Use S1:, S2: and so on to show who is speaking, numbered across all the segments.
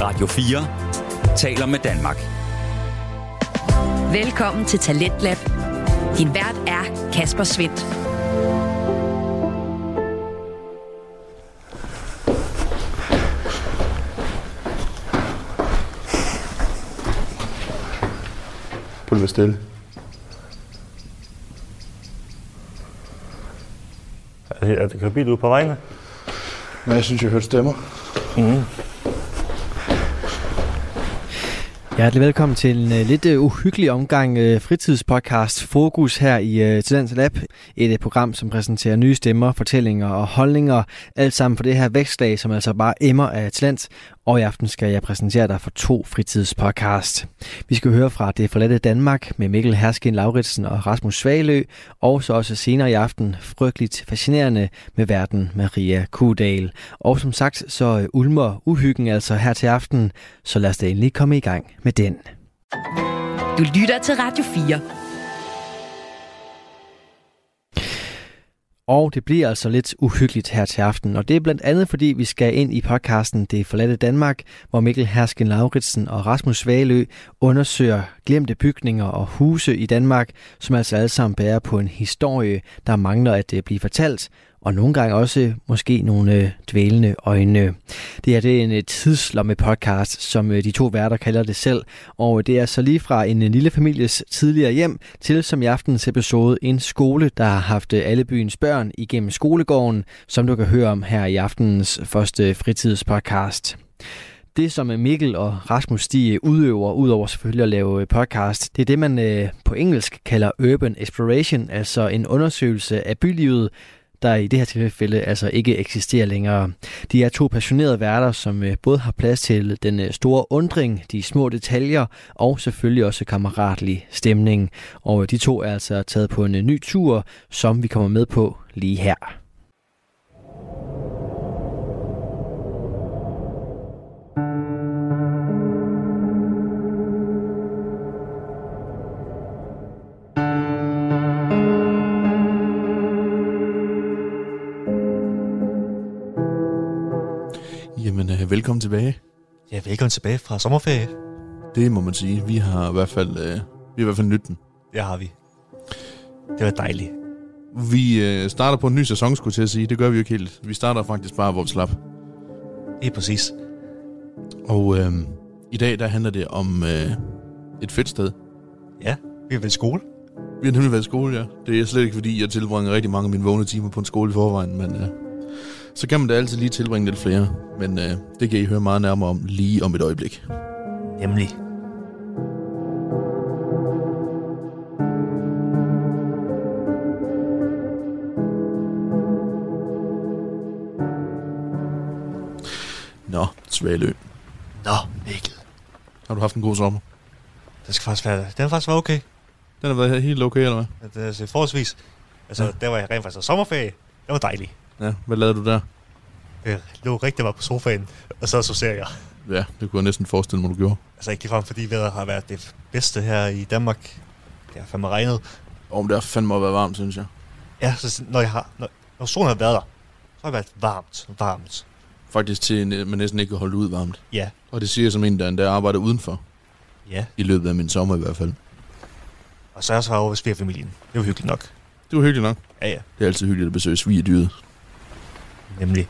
S1: Radio 4 taler med Danmark.
S2: Velkommen til Talentlab. Din vært er Kasper Svendt.
S3: Prøv at være stille.
S4: Er det, er det kører bil ude på vejen?
S3: Men jeg synes, jeg hørte stemmer.
S5: Hjertelig velkommen til en uh, lidt uh, uhyggelig omgang uh, fritidspodcast Fokus her i uh, Tidens Lab. Et uh, program, som præsenterer nye stemmer, fortællinger og holdninger. Alt sammen for det her vækstlag, som altså bare emmer af Tidens. Og i aften skal jeg præsentere dig for to fritidspodcast. Vi skal høre fra Det forladte Danmark med Mikkel Herskin Lauritsen og Rasmus Svalø. Og så også senere i aften frygteligt fascinerende med verden Maria Kudal. Og som sagt, så øh, ulmer uhyggen altså her til aften, så lad os da endelig komme i gang med den.
S2: Du lytter til Radio 4.
S5: Og det bliver altså lidt uhyggeligt her til aften, og det er blandt andet fordi vi skal ind i podcasten Det forladte Danmark, hvor Mikkel Hersken Lauritsen og Rasmus Svalø undersøger glemte bygninger og huse i Danmark, som altså alle sammen bærer på en historie, der mangler at øh, blive fortalt, og nogle gange også måske nogle øh, dvælende øjne. Det her det er en øh, tidslomme podcast, som øh, de to værter kalder det selv, og det er så lige fra en øh, lille families tidligere hjem til som i aftens episode en skole, der har haft øh, alle byens børn igennem skolegården, som du kan høre om her i aftenens første øh, fritidspodcast. Det, som øh, Mikkel og Rasmus de øh, udøver, udover selvfølgelig at lave øh, podcast, det er det, man øh, på engelsk kalder urban exploration, altså en undersøgelse af bylivet, der i det her tilfælde altså ikke eksisterer længere. De er to passionerede værter, som øh, både har plads til den øh, store undring, de små detaljer og selvfølgelig også kammeratlig stemning. Og øh, de to er altså taget på en øh, ny tur, som vi kommer med på lige her.
S3: Jamen, øh, velkommen tilbage.
S6: Ja, velkommen tilbage fra sommerferie.
S3: Det må man sige. Vi har i hvert fald, øh, vi har i hvert fald nydt den.
S6: Det har vi. Det var dejligt.
S3: Vi øh, starter på en ny sæson, skulle jeg til at sige. Det gør vi jo ikke helt. Vi starter faktisk bare, hvor vi slap.
S6: Helt præcis.
S3: Og øh, i dag, der handler det om øh, et fedt sted.
S6: Ja, vi er ved skole.
S3: Vi har nemlig været i skole, ja. Det er slet ikke, fordi jeg tilbringer rigtig mange af mine vågne timer på en skole i forvejen, men øh, så kan man da altid lige tilbringe lidt flere. Men øh, det kan I høre meget nærmere om lige om et øjeblik.
S6: Nemlig.
S3: Nå, Svalø.
S6: Nå, Mikkel.
S3: Har du haft en god sommer?
S6: Den skal faktisk være, den har faktisk været okay.
S3: Den har været helt okay, eller hvad?
S6: Den er altså forholdsvis. Altså,
S3: Ja.
S6: ja. der var jeg rent faktisk på sommerferie. Det var dejligt.
S3: Ja, hvad lavede du der?
S6: Jeg lå rigtig meget på sofaen, og så så ser jeg.
S3: Ja, det kunne jeg næsten forestille mig, du gjorde.
S6: Altså ikke ligefrem, fordi vejret har været det bedste her i Danmark. Det har fandme regnet.
S3: Om det har fandme at være varmt, synes jeg.
S6: Ja, så når, jeg har, når, når solen har været der, så har det været varmt, varmt.
S3: Faktisk til, en- man næsten ikke kan holde ud varmt.
S6: Ja,
S3: Og det siger jeg som en, der endda arbejder udenfor.
S6: ja.
S3: I løbet af min sommer i hvert fald.
S6: Og så er jeg så over ved svigerfamilien. Det var hyggeligt nok.
S3: Det var hyggeligt nok.
S6: Ja, ja,
S3: Det er altid hyggeligt at besøge svigerdyret.
S6: nemlig.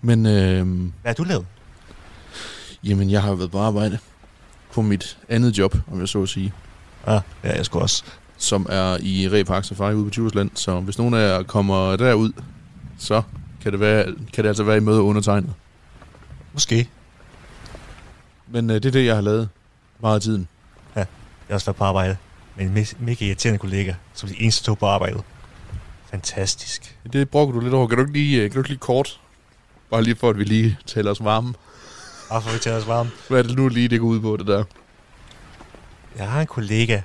S3: Men øh,
S6: Hvad har du lavet?
S3: jamen, jeg har været på arbejde på mit andet job, om jeg så at sige.
S6: Ah, ja, jeg skulle også.
S3: Som er i Repark Safari ude på Djursland. Så hvis nogen af jer kommer derud, så kan det, være, kan det altså være i møde undertegnet.
S6: Måske.
S3: Men øh, det er det, jeg har lavet meget af tiden.
S6: Jeg har også været på arbejde med en mæ- mega irriterende kollega, som de eneste to på arbejdet. Fantastisk.
S3: Det brokker du lidt over. Kan du ikke lige, øh, kan du ikke lige kort? Bare lige for, at vi lige taler os varme.
S6: Og for at fortælle os varme.
S3: Hvad er det nu lige, det går ud på, det der?
S6: Jeg har en kollega,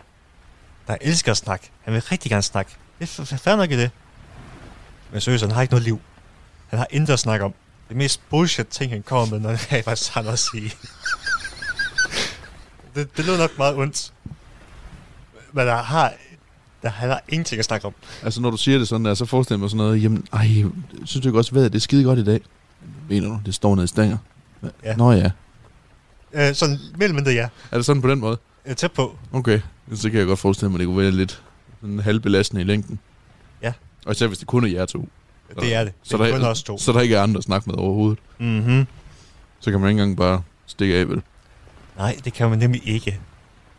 S6: der elsker at snakke. Han vil rigtig gerne snakke. Det er f- fair nok i det. Men seriøst, han har ikke noget liv. Han har intet at snakke om. Det mest bullshit ting, han kommer med, når han rent faktisk har noget at sige. det, det lød nok meget ondt. Men der har, der, han har ingenting at snakke om.
S3: Altså, når du siger det sådan der, så forestiller jeg mig sådan noget. Jamen, ej, synes du ikke også, at det er skide godt i dag? Mener du, det står nede i stænger? Ja.
S6: Ja.
S3: Nå ja.
S6: Øh, sådan mellem det, ja.
S3: Er det sådan på den måde?
S6: Øh, tæt på.
S3: Okay. Så kan jeg godt forestille mig, at det kunne være lidt sådan halvbelastende i længden.
S6: Ja.
S3: Og især hvis det kun er jer to.
S6: Det er det.
S3: Så
S6: Så det er
S3: der-
S6: kun os to.
S3: Så der ikke er andre at snakke med overhovedet.
S6: Mm-hmm.
S3: Så kan man ikke engang bare stikke af, vel?
S6: Nej, det kan man nemlig ikke.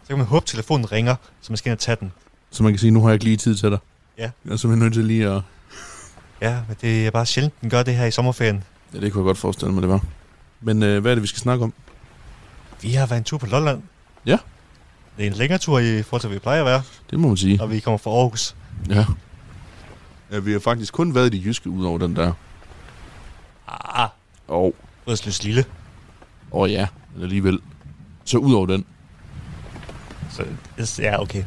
S6: Så kan man håbe, at telefonen ringer, så man skal ind og tage den.
S3: Så man kan sige, nu har jeg ikke lige tid til dig.
S6: Ja.
S3: Jeg er simpelthen nødt til lige at...
S6: Ja, men det er bare sjældent, den gør det her i sommerferien.
S3: Ja, det kunne jeg godt forestille mig, det var. Men øh, hvad er det, vi skal snakke om?
S6: Vi har været en tur på Lolland.
S3: Ja.
S6: Det er en længere tur i forhold til, hvad vi plejer at være,
S3: Det må man sige.
S6: når vi kommer fra Aarhus.
S3: Ja. ja. vi har faktisk kun været i det jyske, udover den der.
S6: Ah,
S3: Og,
S6: Rødsløs Lille.
S3: og ja, men alligevel. Så udover den.
S6: Så, yes, ja, okay.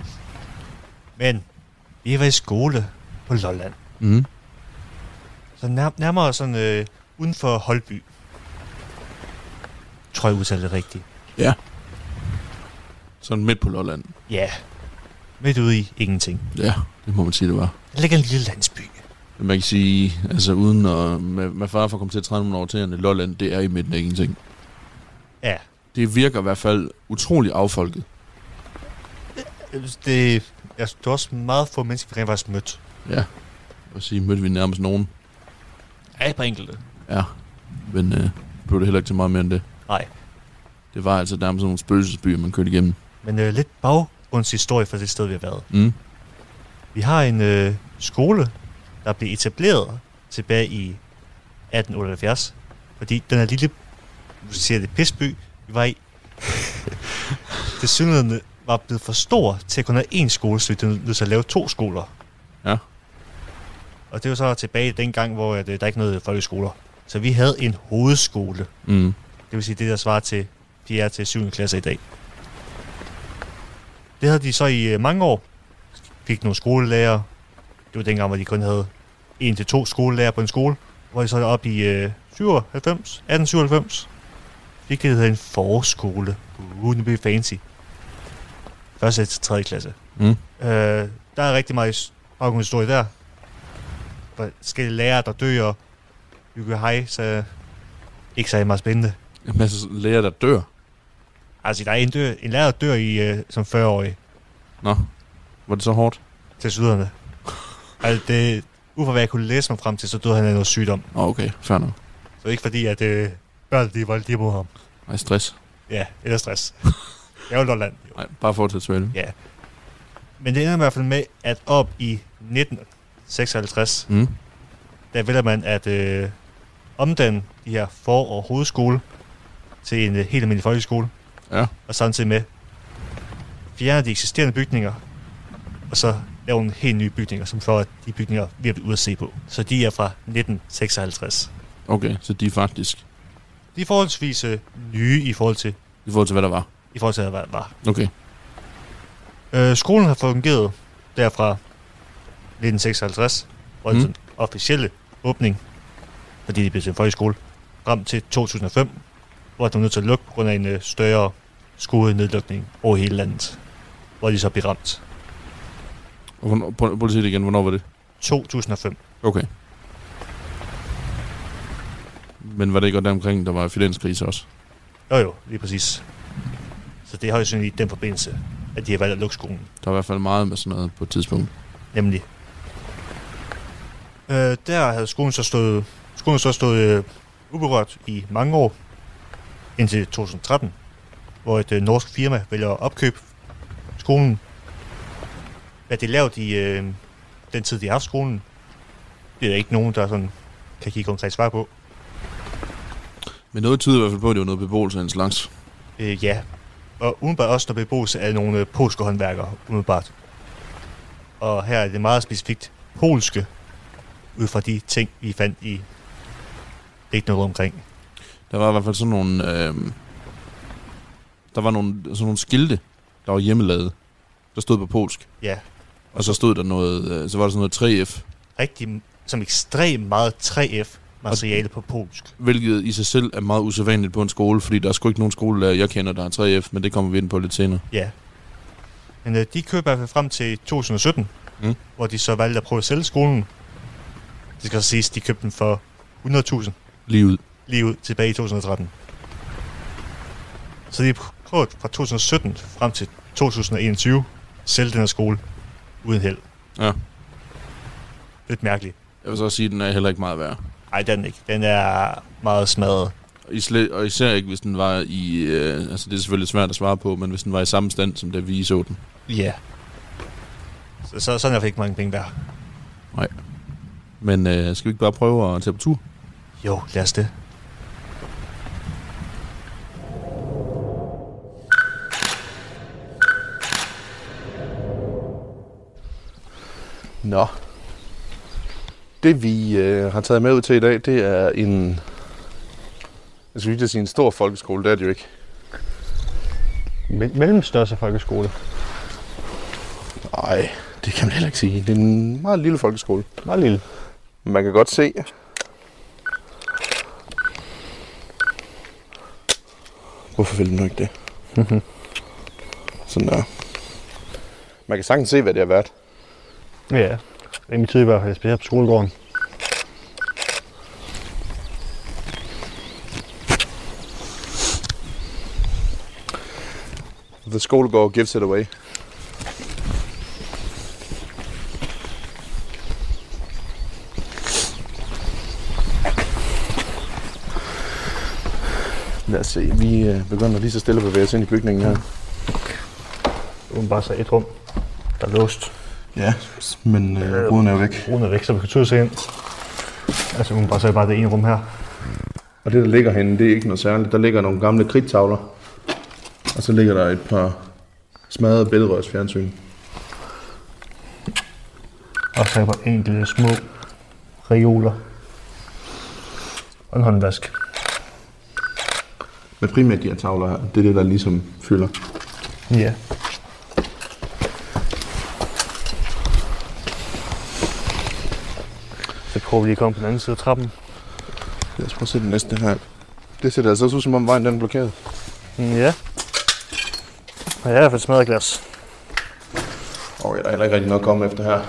S6: Men vi har været i skole på Lolland.
S3: Mm.
S6: Så nær, nærmere sådan øh, uden for Holby. Tror jeg udtaler det rigtigt.
S3: Ja. Sådan midt på Lolland.
S6: Ja. Midt ude i ingenting.
S3: Ja, det må man sige, det var.
S6: Der ligger en lille landsby.
S3: Men man kan sige, altså uden at... Med, med far for at komme til at træne nogle overtagerne, Lolland, det er i midten af ingenting.
S6: Ja.
S3: Det virker i hvert fald utrolig affolket.
S6: Det, jeg, det er også meget få mennesker, vi rent faktisk mødt.
S3: Ja. Og sige, mødte vi nærmest nogen.
S6: Ja, et par enkelte.
S3: Ja. Men øh, blev det heller ikke til meget mere end det.
S6: Nej.
S3: Det var altså nærmest sådan nogle spøgelsesbyer, man kørte igennem.
S6: Men øh, lidt baggrundshistorie for det sted, vi har været.
S3: Mm.
S6: Vi har en øh, skole, der blev etableret tilbage i 1878, fordi den her lille, nu siger jeg det, pisby, vi var i, det synligheden var blevet for stor til at kun have én skole, så vi blev nødt til at lave to skoler.
S3: Ja.
S6: Og det var så tilbage dengang, hvor at, øh, der ikke noget folkeskoler. Så vi havde en hovedskole, det
S3: Mm.
S6: vil sige det, der svarer til 4. til 7. klasse i dag. Det havde de så i øh, mange år. Fik nogle skolelærer. Det var dengang, hvor de kun havde en til to skolelærer på en skole. Hvor de så op i øh, 97, 1897. Fik det, der hedder en forskole. Uh, nu bliver det fancy. Første til tredje klasse.
S3: Mm.
S6: Øh, der er rigtig meget baggrundshistorie der. Forskellige lærere, der dør, og hygge hej, så ikke særlig meget spændende.
S3: En masse læger, der dør.
S6: Altså, der er en, dør, en lærer, der dør i, øh, som 40-årig
S3: Nå, var det så hårdt?
S6: til syderne. altså, det, ud fra hvad jeg kunne læse mig frem til, så døde han af noget sygdom.
S3: Åh, okay, fair nok.
S6: Så ikke fordi, at øh, børn de var lige mod ham.
S3: Ej, stress.
S6: Ja, eller stress. jeg var Lolland. jo.
S3: Nej, bare fortsæt svælge.
S6: Men det ender i hvert fald med, at op i 1956,
S3: Mm.
S6: der vælger man at øh, omdanne de her for- og hovedskole til en øh, helt almindelig folkeskole.
S3: Ja.
S6: Og samtidig med fjerne de eksisterende bygninger, og så lave en helt nye bygninger, som for at de bygninger, vi har været ude at se på. Så de er fra 1956.
S3: Okay, så de er faktisk...
S6: De er forholdsvis øh, nye i forhold til,
S3: I forhold til, hvad der var.
S6: i forhold til hvad der var.
S3: Okay.
S6: Øh, skolen har fungeret derfra 1956, hvor
S3: Mm.
S6: mm. den officielle åbning, fordi det blev til en folkeskole, frem til 2005, hvor den var nødt til at lukke på grund af en øh, større skolenedlukning over hele landet, hvor de så blev ramt.
S3: Og hvornår, prøv, prøv at sige det igen, hvornår var det?
S6: 2005.
S3: Okay. Men var det ikke godt omkring, der var finanskrise også?
S6: Jo jo, lige præcis. Så det har jo synligt i den forbindelse, at de har valgt at lukke skolen.
S3: Der var i hvert fald meget med sådan noget på et tidspunkt.
S6: nemlig. Øh, der havde skolen så stået, skolen så stået øh, uberørt i mange år, indtil 2013, hvor et øh, norsk firma vælger at opkøbe skolen. Hvad de lavede i øh, den tid, de har haft skolen, det er der ikke nogen, der sådan kan give konkret svar på.
S3: Men noget tyder i hvert fald på, at det var noget beboelse af en slags.
S6: Øh, ja, og udenbart også, når beboelse af nogle øh, polske håndværkere, umiddelbart. Og her er det meget specifikt polske, ud fra de ting, vi fandt i ikke noget omkring.
S3: Der var i hvert fald sådan nogle... Øh, der var nogle, sådan nogle skilte, der var hjemmelavet. Der stod på polsk.
S6: Ja,
S3: Og så stod der noget... Øh, så var der sådan noget 3F.
S6: rigtig, som ekstremt meget 3F-materiale på polsk.
S3: Hvilket i sig selv er meget usædvanligt på en skole, fordi der er sgu ikke nogen skolelærer, jeg kender, der er 3F, men det kommer vi ind på lidt senere.
S6: Ja. Men øh, de køber i hvert fald frem til 2017,
S3: Mm.
S6: mm. hvor de så valgte at prøve at sælge skolen. Det skal så siges, de købte den for 100.000
S3: Lige ud.
S6: lige ud tilbage i 2013.
S7: Så de har prøvet fra 2017 frem til 2021 at sælge den her skole uden held.
S3: Ja.
S7: Lidt mærkeligt.
S3: Jeg vil så også sige, at den er heller ikke meget værd.
S7: Nej, den ikke. Den er meget smadret.
S3: Og isle- og især ikke, hvis den var i... Øh, altså, det er selvfølgelig svært at svare på, men hvis den var i samme stand, som da vi så den.
S7: Ja. Yeah. Så, så, sådan er der ikke mange penge værd.
S3: Men øh, skal vi ikke bare prøve at tage på tur?
S7: Jo, lad os det.
S8: Nå. Det vi øh, har taget med ud til i dag, det er en... Jeg skulle lige til at sige en stor folkeskole, det er det jo ikke.
S6: Me- mellemstørste folkeskole.
S8: Nej, det kan man heller ikke sige. Det er en meget lille folkeskole.
S6: Meget lille.
S8: Men Man kan godt se... Hvorfor vil den nu ikke det? Mhm. Sådan der. Man kan sagtens se, hvad det har været.
S6: Ja. Det er min tid i hvert fald, specielt på skolegården.
S8: The Skolegård gives it away. Lad os se, vi øh, begynder lige så stille at bevæge os ind i bygningen her.
S6: Det var bare så et rum, der er låst.
S8: Ja, men øh, ruden er jo væk.
S6: Ruden er væk, så vi kan tydeligt se ind. Altså, hun bare så bare det ene rum her.
S8: Og det, der ligger herinde, det er ikke noget særligt. Der ligger nogle gamle kridtavler. Og så ligger der et par smadrede bælgerørsfjernsyn.
S6: Og så er der bare enkelte små reoler. Og en håndvask.
S8: Men primært de her tavler her, det er det, der ligesom fylder.
S6: Ja. Så prøver vi lige at komme på den anden side af trappen.
S8: Lad os prøve at se den næste her. Det ser da altså også ud, som om vejen den er blokeret.
S6: Mm, Ja. Og jeg er i hvert fald smadret glas.
S8: Og der er heller ikke rigtig noget at komme efter her.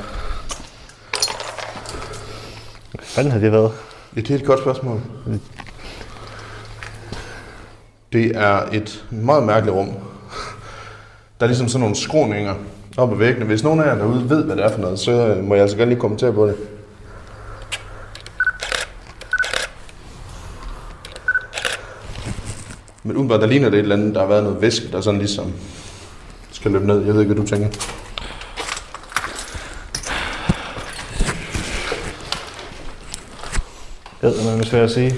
S6: Hvad fanden har det været?
S8: Ja, det er et godt spørgsmål. Det er et meget mærkeligt rum. Der er ligesom sådan nogle skråninger op ad væggene. Hvis nogen af jer derude ved, hvad det er for noget, så øh, må jeg altså gerne lige kommentere på det. Men udenbart, der ligner det et eller andet, der har været noget væske, der sådan ligesom skal løbe ned. Jeg ved ikke, hvad du tænker.
S6: Jeg ved, man er svært at sige.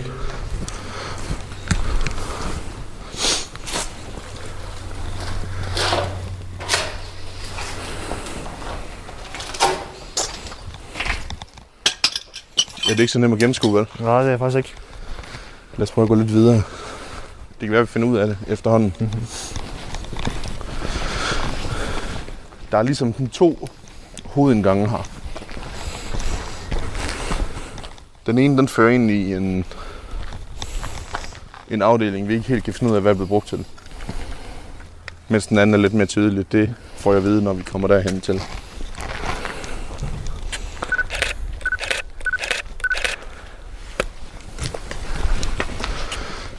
S8: Ja, det er ikke så nemt at gennemskue, vel?
S6: Nej, det er jeg faktisk ikke.
S8: Lad os prøve at gå lidt videre. Det kan være, at vi finder ud af det efterhånden. Mm-hmm. Der er ligesom sådan to hovedindgange her. Den ene, den fører ind i en, en afdeling, vi ikke helt kan finde ud af, hvad det er blevet brugt til. Mens den anden er lidt mere tydelig. Det får jeg at vide, når vi kommer derhen til.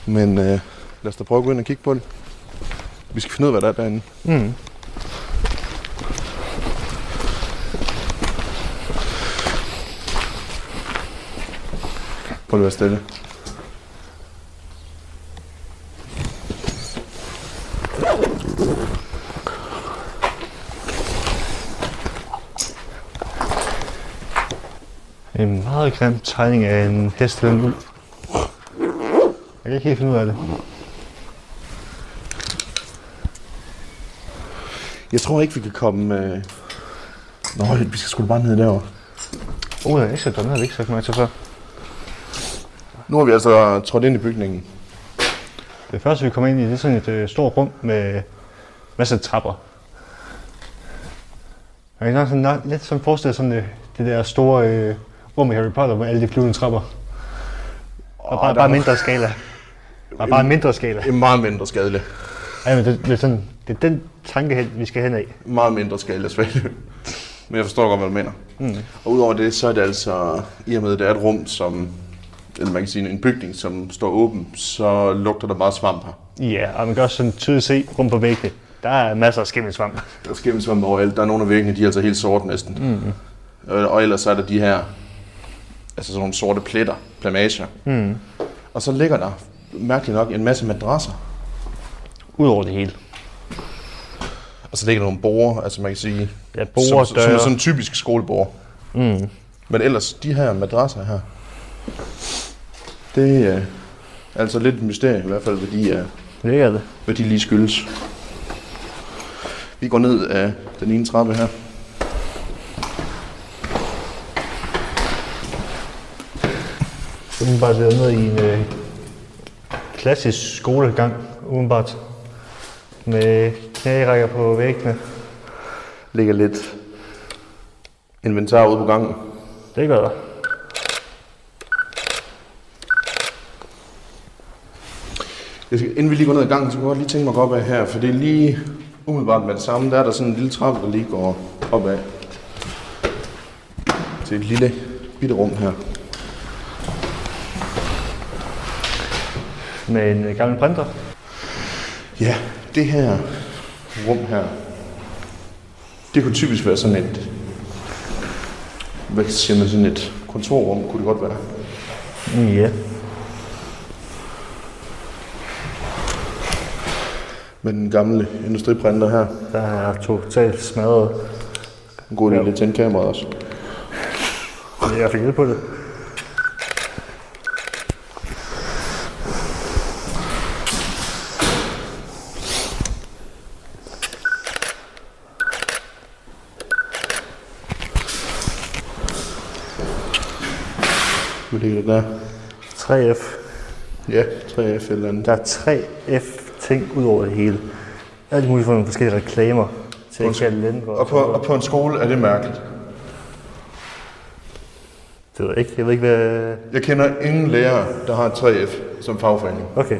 S8: Men øh, lad os da prøve at gå ind og kigge på det. Vi skal finde ud af, hvad der er derinde.
S6: Mm.
S8: Prøv lige at være stille.
S6: En meget grim tegning af en hest eller en ulv. Jeg kan ikke helt finde ud af det.
S8: Jeg tror ikke, vi kan komme... Øh... Nå, vi skal sgu da bare ned derovre.
S6: Uh, jeg er ikke så dum, jeg har ikke sagt mig til før.
S8: Nu har vi altså trådt ind i bygningen.
S6: Det første, vi kommer ind i, det er sådan et øh, stort rum med masser af trapper. Jeg kan nok sådan, nok lidt sådan forestille sådan øh, det der store øh, rum i Harry Potter med alle de flyvende trapper. Og bare, bare mindre skala. Bare, bare mindre skala.
S8: En meget mindre skadelig.
S6: Ja, men det, det, er sådan, det er den tanke, hen, vi skal hen af.
S8: Meget mindre skadelig svag. Men jeg forstår godt, hvad du mener. Mm. Og udover det, så er det altså, i og med, at det er et rum, som eller man kan sige en bygning, som står åben, så lugter der meget svamp her.
S6: Ja, og man kan også sådan tydeligt se rundt på væggene. Der er masser af skimmelsvamp.
S8: Der er skimmelsvamp overalt. Der er nogle af væggene, de er altså helt sorte næsten. Mm. Og ellers er der de her, altså sådan nogle sorte pletter, plamager. Mm. Og så ligger der, mærkeligt nok, en masse madrasser.
S6: Udover det hele.
S8: Og så ligger der nogle borer, altså man kan sige,
S6: Ja, borer,
S8: som, som,
S6: døre.
S8: som, som typisk skoleborer. Mm. Men ellers, de her madrasser her, det er øh, altså lidt et mysterium i hvert fald, hvad de, er,
S6: Det er det.
S8: hvad de lige skyldes. Vi går ned af den ene trappe her.
S6: Udenbart er ned i en øh, klassisk skolegang, udenbart. Med knærækker på væggene.
S8: Ligger lidt inventar ude på gangen.
S6: Det gør der.
S8: Jeg skal, inden vi lige går ned ad gangen, så kunne jeg godt lige tænke mig at gå op af her, for det er lige umiddelbart med det samme. Der er der sådan en lille trappe, der lige går opad til et lille bitte rum her.
S6: Med en øh, gammel printer.
S8: Ja, det her rum her, det kunne typisk være sådan et, hvad siger man, sådan et kontorrum, kunne det godt være.
S6: Ja.
S8: Med den gamle industriprinter her.
S6: Der er totalt smadret.
S8: En god idé ja. at tænde kameraet også.
S6: Jeg fik hjælp på det.
S8: Hvad ligger der der?
S6: 3F.
S8: Ja, 3F eller andet.
S6: Der er 3F-ting ud over det hele. Alt muligt for nogle forskellige reklamer til
S8: Undskyld.
S6: kalender.
S8: Og på, og på en skole er det mærkeligt.
S6: Det ved jeg ikke. Jeg ved ikke, hvad...
S8: Jeg kender ingen lærer, der har et 3F som fagforening.
S6: Okay.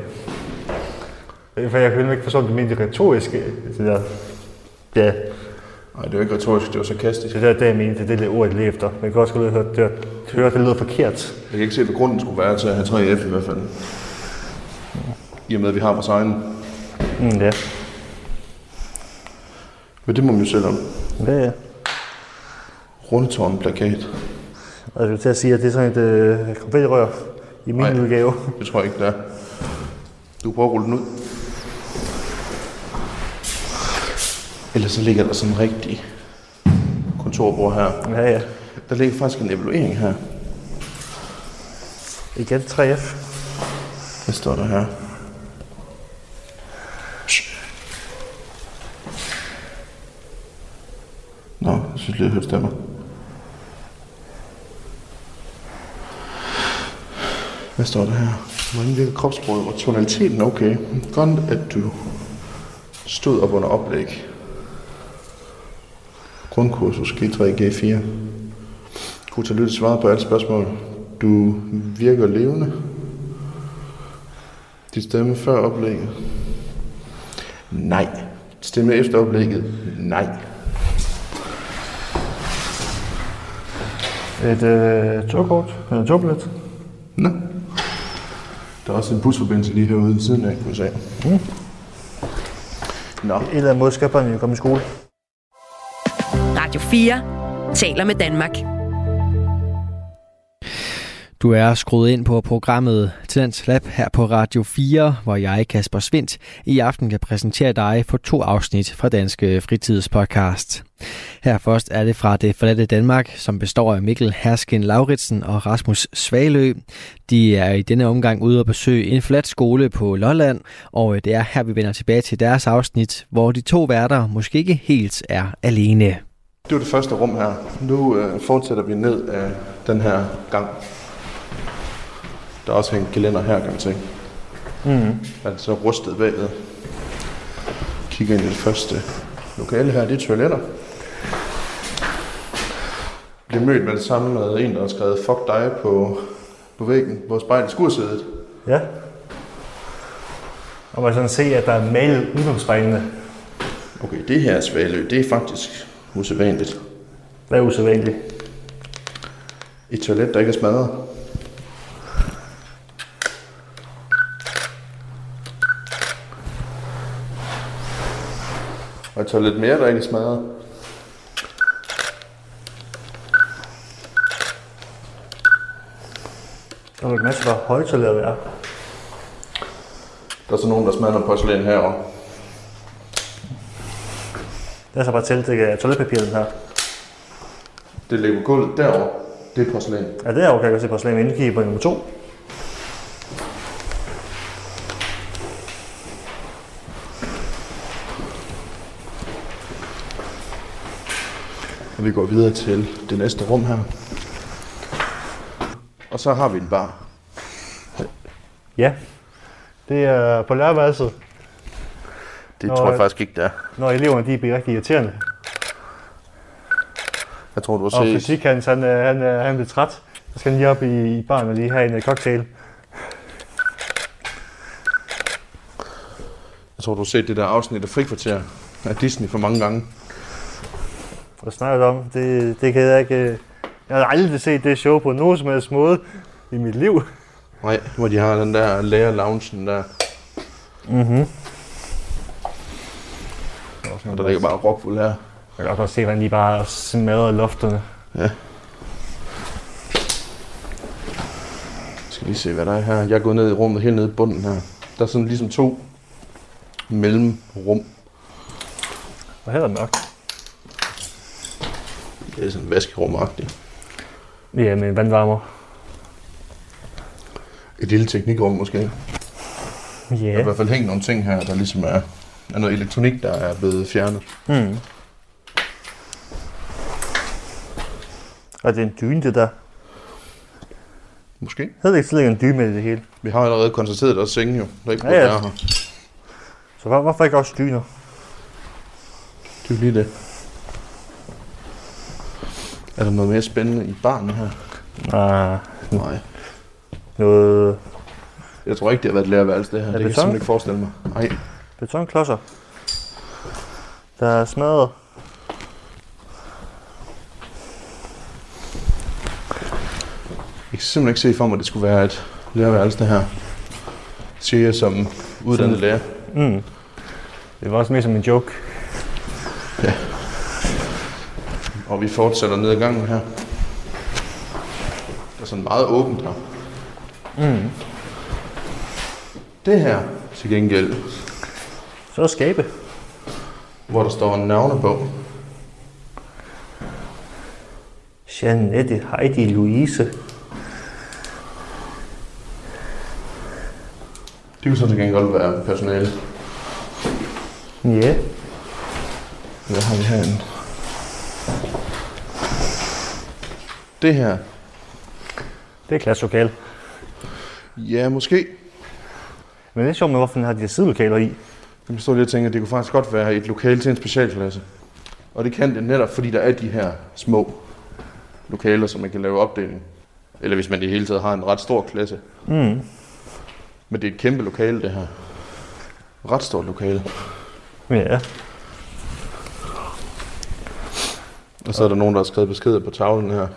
S6: For jeg kunne ikke forstå, om du mente det retoriske. Det der. Ja,
S8: Nej, det var ikke retorisk, det var sarkastisk.
S6: det der, det jeg mente, det er det der ord, jeg leder efter. Man kan også godt høre, at det, høre, at det lyder forkert.
S8: Jeg kan ikke se, hvad grunden skulle være til at have 3F i hvert fald. I og med, at vi har vores egen.
S6: Mm, ja.
S8: Men det må man jo selv om.
S6: Ja, ja.
S8: Rundetårn-plakat.
S6: Og jeg skulle til at sige, at det er sådan et øh, konfettirør i min
S8: Nej.
S6: udgave.
S8: Det tror jeg ikke, det er. Du prøver at rulle den ud. Ellers så ligger der sådan en rigtig kontorbord her.
S6: Ja, ja.
S8: Der ligger faktisk en evaluering her.
S6: Igen 3F.
S8: Hvad står der her? Nå, jeg synes lige, jeg hørte stemmer. Hvad står der her? Hvordan virker kropsproget og tonaliteten? Okay. Godt, at du stod op under oplæg. Grundkursus G3-G4. Kunne tage lytte svaret på alle spørgsmål. Du virker levende. Dit stemme før oplægget? Nej. Stemme efter oplægget? Nej.
S6: Et øh, togkort, eller togbillet.
S8: Nå. Der er også en busforbindelse lige herude ved siden af, kunne jeg sige. Nå.
S6: En eller anden måde skal børnene jo komme i skole.
S2: Radio 4 taler med Danmark.
S5: Du er skruet ind på programmet Tidens Lab her på Radio 4, hvor jeg, Kasper Svindt, i aften kan præsentere dig for to afsnit fra Danske Fritidspodcast. Her først er det fra det forladte Danmark, som består af Mikkel Hersken Lauritsen og Rasmus Svalø. De er i denne omgang ude at besøge en flat skole på Lolland, og øh, det er her, vi vender tilbage til deres afsnit, hvor de to værter måske ikke helt er alene.
S8: Det var det første rum her. Nu øh, fortsætter vi ned af den her gang. Der er også en gelænder her, kan man se. Mm. Der er så rustet bagved. Kigger ind i det første lokale her. Det er toiletter. Bliver mødt med det samme med en, der har skrevet fuck dig på, på væggen, hvor spejlet skursædet.
S6: Ja. Og man kan sådan se, at der er malet udenomspejlene.
S8: Okay, det her svalø, det er faktisk usædvanligt.
S6: Hvad er usædvanligt?
S8: Et toilet, der ikke er smadret. Og jeg tager lidt mere, der ikke er smadret.
S6: Der er en masse, hvor højtaler der er.
S8: Der er så nogen, der smadrer noget porcelæn herovre.
S6: Der er så bare tildækket af toiletpapiret den her.
S8: Det ligger på gulvet derovre. Det er porcelæn.
S6: Ja, det er jo, kan jeg godt se porcelæn med indkig på nummer to.
S8: Og vi går videre til det næste rum her. Og så har vi en bar.
S6: Ja. Det er på lærerværelset,
S8: Det
S6: Nå,
S8: tror jeg
S6: ja.
S8: faktisk ikke, det er.
S6: når eleverne de bliver rigtig irriterende.
S8: Jeg tror, du har
S6: Og
S8: set...
S6: fysik, han, han, øh, han, øh, han blev træt. Så skal han lige op i, i baren og lige have en øh, cocktail.
S8: Jeg tror, du har set det der afsnit af Frikvarter af Disney for mange gange.
S6: Hvad snakker du om? Det, det kan jeg ikke... øh, Jeg har aldrig set det show på nogen som helst måde i mit liv.
S8: Nej, hvor de har den der lærer loungen der.
S6: Mm-hmm.
S8: Mhm. Og der ligger bare rockfuld her.
S6: Jeg kan også godt se, hvordan de bare smadrer lofterne.
S8: Jeg skal lige se, hvad der er her. Jeg er gået ned i rummet, helt nede i bunden her. Der er sådan ligesom to mellemrum.
S6: Og her er det mørkt.
S8: Det er sådan vaskerumagtigt.
S6: Ja, med vandvarmer.
S8: Et lille teknikrum måske. Der er i
S6: Ja.
S8: hvert fald hængt nogle ting her, der ligesom er, er noget elektronik, der er blevet fjernet.
S6: Mm. Og det er en dyne, det der.
S8: Måske.
S6: Hedder det ikke tidligere en dyne i det hele?
S8: Vi har allerede konstateret, at der er senge jo. Der er ikke
S6: Ja,
S8: burde
S6: ja.
S8: være her.
S6: Så hvor- hvorfor ikke også dyner?
S8: Det er jo lige det. Er der noget mere spændende i barnet her?
S6: Ah,
S8: Nej.
S6: noget
S8: Jeg tror ikke, det har været et lærerværelse, det her.
S6: Er
S8: det kan jeg
S6: det sådan?
S8: simpelthen ikke forestille mig. Nej.
S6: betonklodser, der er smadret.
S8: Jeg kan simpelthen ikke se for mig, at det skulle være et lærerværelse, det her. Siger jeg som uddannet
S6: Sådan.
S8: lærer.
S6: Mm. Det var også mere som en joke.
S8: Og vi fortsætter ned ad gangen her. Der er sådan meget åbent her. Mm. Det her til gengæld,
S6: Så er skabe.
S8: hvor der står en navne på.
S6: Jeanette, Heidi, Louise.
S8: Det kunne så til gengæld godt være personale.
S6: Ja. Yeah.
S8: Hvad har vi herinde? Det her.
S6: Det er klasselokale.
S8: Ja, måske.
S6: Men det er sjovt med, hvorfor den har de her sidelokaler i.
S8: Jeg står lige og tænker, at det kunne faktisk godt være et lokale til en specialklasse. Og det kan det netop, fordi der er de her små lokaler, som man kan lave opdeling. Eller hvis man i det hele taget har en ret stor klasse. Mm. Men det er et kæmpe lokale, det her. Ret stort lokale.
S6: Ja.
S8: Og så er der nogen, der har skrevet beskeder på tavlen her.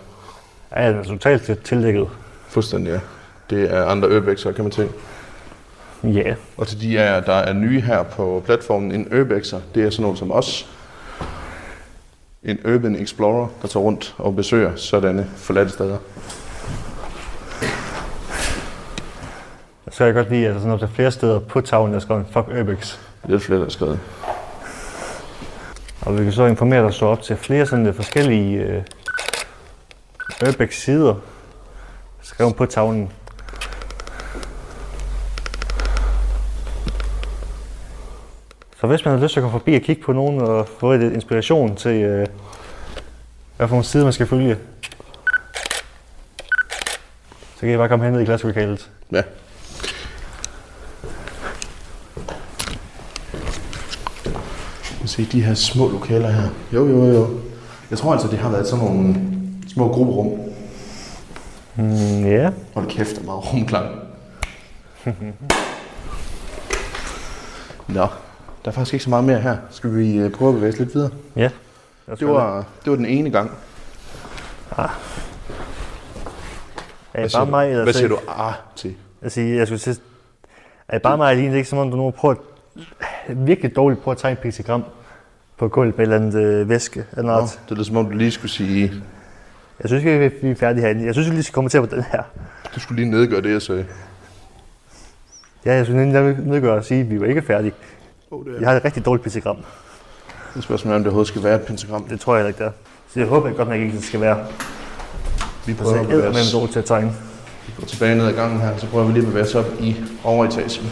S6: Ja, den er totalt til- tildækket.
S8: Fuldstændig, ja. Det er andre ørbækser, kan man tænke.
S6: Ja.
S8: Og til de af jer, der er nye her på platformen, en urbexer, det er sådan nogle som os. En urban explorer, der tager rundt og besøger sådanne forladte steder.
S6: Så kan jeg godt lide, at der er sådan noget, der er flere steder på tavlen, der skal en fuck Urbex.
S8: Lidt flere, der er skrevet.
S6: Og vi kan så informere dig så op til flere sådan lidt forskellige øh, Urbex sider skrevet på tavlen. Så hvis man har lyst til at komme forbi og kigge på nogen og få lidt inspiration til, øh, hvad for nogle sider man skal følge, så kan I bare komme hen ned i klasselokalet.
S8: Ja. Se de her små lokaler her. Jo, jo, jo. Jeg tror altså, det har været sådan nogle små grupperum.
S6: Mm, ja.
S8: Hold kæft, der er meget rumklang. Nå, der er faktisk ikke så meget mere her. Skal vi øh, prøve at bevæge os lidt videre?
S6: Ja.
S8: Det var, det var den ene gang.
S6: er det bare mig,
S9: altså,
S6: eller
S8: Hvad siger
S6: så-
S8: du ah til?
S6: Altså, jeg skulle sige, er det bare mig alene, det er ikke som om, du nu prøver at, virkelig dårligt prøver at tegne et pentagram.
S9: på gulvet med et eller andet øh, væske. Eller
S8: Nå,
S6: Ah.
S9: noget.
S8: det er lidt som om, du lige skulle sige,
S9: Jeg synes ikke, vi er færdige herinde. Jeg synes, vi lige skal kommentere på den her.
S8: du skulle lige nedgøre det, jeg sagde.
S9: Ja, jeg synes, jeg vil nedgøre og sige, at vi var ikke færdige.
S8: Oh, det
S9: Jeg har et rigtig dårligt pentagram.
S8: Det er spørgsmålet, om det overhovedet skal være et pentagram.
S9: Det tror jeg heller ikke, det er. Så jeg håber godt nok ikke, det skal være.
S8: Vi
S9: Altså,
S8: prøver at
S9: jeg er
S8: bevæge
S9: med
S8: os
S9: dårlig til at tegne.
S8: Vi går tilbage ned ad gangen her, så prøver vi lige at bevæge os op i overetagen.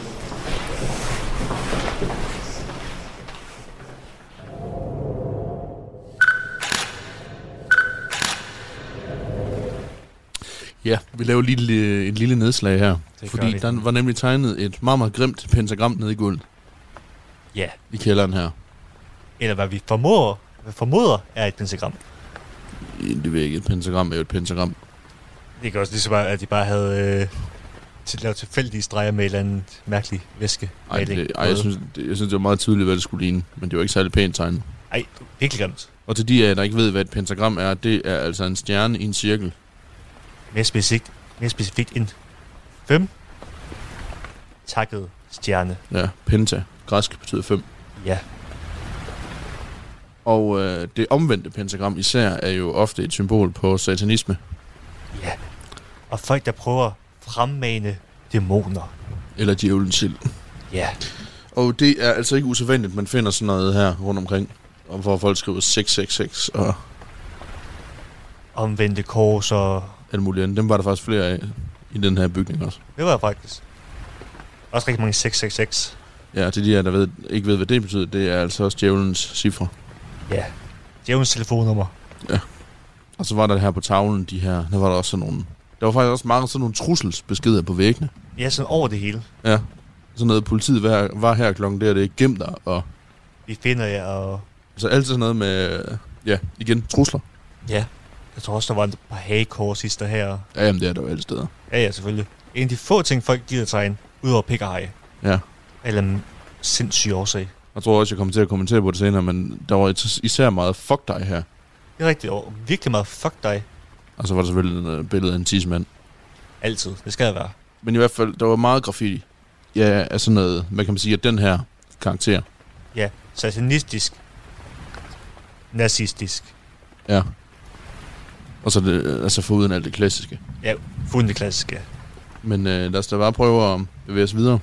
S3: Ja, vi laver lige et lille- et lille nedslag her.
S6: Det gør
S3: fordi
S6: vi.
S3: der var nemlig tegnet et meget, meget grimt pentagram nede i gulvet
S6: Ja,
S3: i kælderen her.
S6: eller hvad vi formoder, formoder er et pentagram.
S3: Det ved jeg ikke, et pentagram er jo et pentagram.
S6: Det kan også lige så meget, at de bare havde øh, til, lavet tilfældige streger med et eller andet mærkelig væske.
S3: Ej, det, ej jeg, synes, det, jeg synes, det var meget tydeligt, hvad det skulle ligne, men det var ikke særlig pænt tegnet.
S6: Ej, det er virkelig grimt.
S3: Og til de af jer, der ikke ved, hvad et pentagram er, det er altså en stjerne i en cirkel.
S6: Mere specifikt, mere specifikt end fem takket stjerne.
S3: Ja, penta. Græsk betyder fem.
S6: Ja,
S3: Og øh, det omvendte pentagram især er jo ofte et symbol på satanisme.
S6: ja. Og folk, der prøver at fremmane dæmoner.
S3: Eller djævelens sild.
S6: Ja,
S3: Og det er altså ikke usædvanligt, man finder sådan noget her rundt omkring. Og hvor folk skriver 666 og
S6: omvendte kors og...
S3: alt muligt andet. Dem var der faktisk flere af i den her bygning også.
S6: Det var faktisk også rigtig mange 666.
S3: Ja, til de her, der ved, ikke ved, hvad det betyder, det er altså også djævelens cifre.
S6: Ja. Djævelens telefonnummer.
S3: Og så var der her på tavlen, de her, der var der også sådan nogle... Der var faktisk også mange sådan nogle trusselsbeskeder på væggene.
S6: Ja, sådan over det hele.
S3: Ja. Sådan noget, politiet var, var her klokken der, det er gem dig, og...
S6: Vi finder jer, og
S3: Altså altid sådan noget med... Ja, igen, trusler.
S6: Ja. Jeg tror også, der var et par hagekors sidst her.
S3: Ja, jamen, det er der jo alle steder.
S6: Ja, ja, selvfølgelig. En af de få ting, folk gider tegne, udover pik og hage.
S3: Ja.
S6: Eller en sindssyg årsag.
S3: Jeg tror også, jeg kommer til at kommentere på det senere, men der var is- især meget fuck dig her.
S6: Det er rigtigt, og virkelig meget fuck dig.
S3: Og så var der selvfølgelig et billede af en tidsmand.
S6: Altid. Det skal der være.
S3: Men i hvert fald, der var meget graffiti. Ja, af sådan noget, hvad kan man sige, at den her karakter.
S6: Ja, satanistisk. Nazistisk.
S3: Ja. Og så det, altså foruden alt det klassiske.
S6: Ja, fundet klassisk, ja.
S3: Men øh, lad os da bare prøve at bevæge os videre.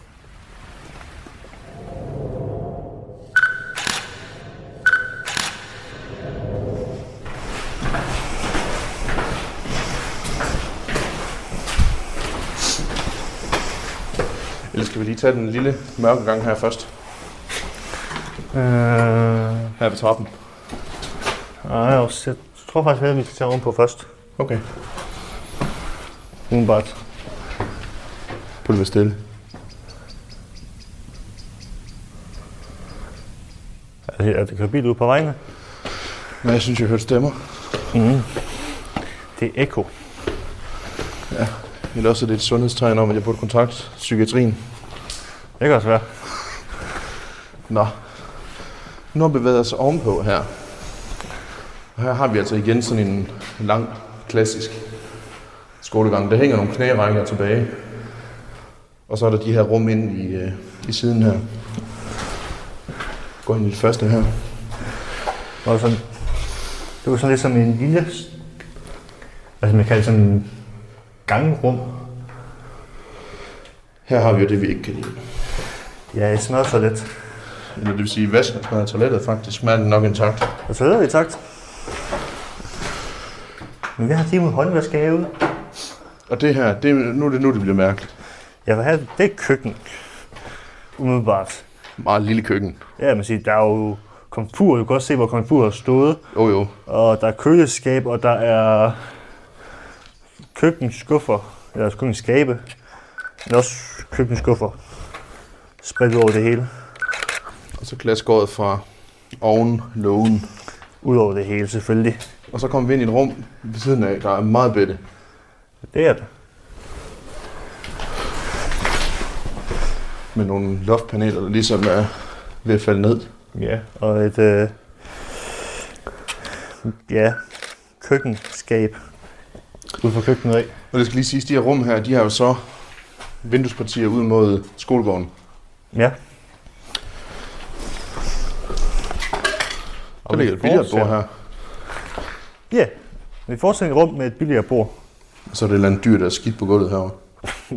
S8: Eller skal vi lige tage den lille mørke gang her først?
S9: Øh,
S8: Her ved trappen.
S9: nej, jeg også- jeg tror faktisk, at vi skal tage ovenpå først.
S8: Okay.
S9: Umiddelbart.
S8: Prøv lige at være stille.
S9: Er det, er det kører bil ude på vejene?
S8: Men jeg synes, jeg hørte stemmer.
S9: Det er Eko.
S8: Eller også er det et sundhedstegn om, at jeg burde kontakte psykiatrien.
S9: Det kan også være.
S8: Nå. Nu har vi bevæget os ovenpå her. Og Her har vi altså igen sådan en lang, klassisk skolegang. Der hænger nogle knærækker tilbage. Og så er der de her rum inde i, øh, i siden her. Gå ind i det første her.
S9: Og sådan, det var sådan lidt som en lille, altså man kalder det sådan en gangrum.
S8: Her har vi jo det, vi ikke kan lide.
S9: Ja, det smadrer så lidt.
S8: Eller det vil sige, vasken af toilettet faktisk smager nok intakt.
S9: Og så er vi takt. Men vi har lige mod håndvask herude.
S8: Og det her, det, er- nu, er det nu, det bliver mærkeligt.
S9: Jeg vil have, det er køkken. Umiddelbart.
S8: Meget lille køkken.
S9: Ja, man siger, der er jo komfur, du kan godt se, hvor komfur har stået.
S8: Jo jo.
S9: Og der er køleskab, og der er køkkenskuffer, eller køkkenskabe, men også køkkenskuffer spredt ud over det hele.
S8: Og så glasgåret fra oven, lågen.
S9: Udover det hele, selvfølgelig.
S8: Og så kommer vi ind i et rum ved siden af, der er meget bedre.
S9: Det er det.
S8: Med nogle loftpaneler, der ligesom er ved at falde ned.
S9: Ja, og et øh, ja, køkkenskab ude for køkkenet af.
S8: Og det skal lige siges, de her rum her, de har jo så vinduespartier ud mod skolegården.
S9: Ja,
S8: Der ligger et billiardbord her.
S6: Ja, yeah. vi fortsætter et rum med et billiardbord.
S8: Og så er det et eller andet dyr, der er skidt på gulvet herovre.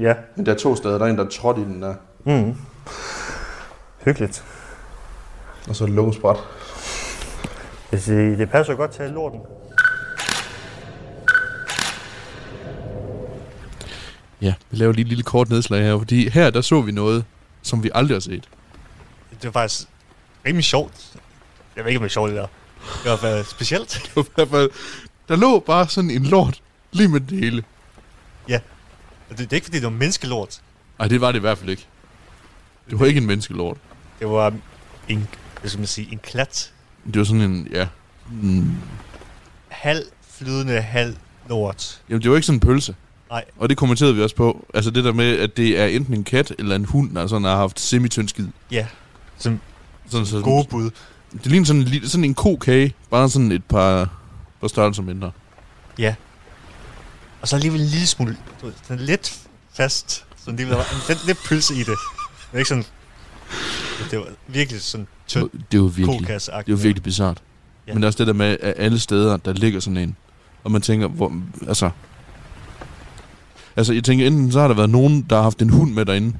S6: ja,
S8: Men der er to steder. Der er en, der er trådt i den der.
S6: hyggeligt.
S8: Og så er det lukkespræt.
S6: Hvis I, det passer godt til lorten.
S3: Ja, vi laver lige et lille kort nedslag her, fordi her der så vi noget, som vi aldrig har set.
S9: Det var faktisk rimelig sjovt. Jeg ved ikke, om det er sjovt, det der. Det var i hvert fald specielt.
S3: Det var i hvert fald, der lå bare sådan en lort lige med det hele.
S9: Og Det, det er ikke, fordi det var menneskelort.
S3: Ej, det var det i hvert fald ikke. Det var ikke en menneskelort.
S9: Det var en, hvad skal man sige, en klat.
S3: Det var sådan en, ja... Mm,
S9: Halv flydende, halv lort.
S3: jamen, det var ikke sådan en pølse.
S9: Nej.
S3: Og det kommenterede vi også på. Altså det der med, at det er enten en kat eller en hund, der sådan har haft semi-tynd skid.
S9: Ja. Som
S3: Sådan, sådan,
S9: gode bud.
S3: Det ligner sådan, en lille- sådan en kokage, bare sådan et par, par størrelser mindre.
S9: Og så alligevel en lille smule, du ved, sådan lidt fast. Sådan alligevel, der var en lidt, lidt pølse i det. Men ikke sådan... Det var virkelig sådan tynd
S3: Det var virkelig,
S9: kokasse
S3: det var virkelig bizart.
S9: Ja.
S3: Ja. Men der er også det der med, at alle steder, der ligger sådan en. Og man tænker, hvor, altså... Altså, jeg tænker, enten så har der været nogen, der har haft en hund med derinde.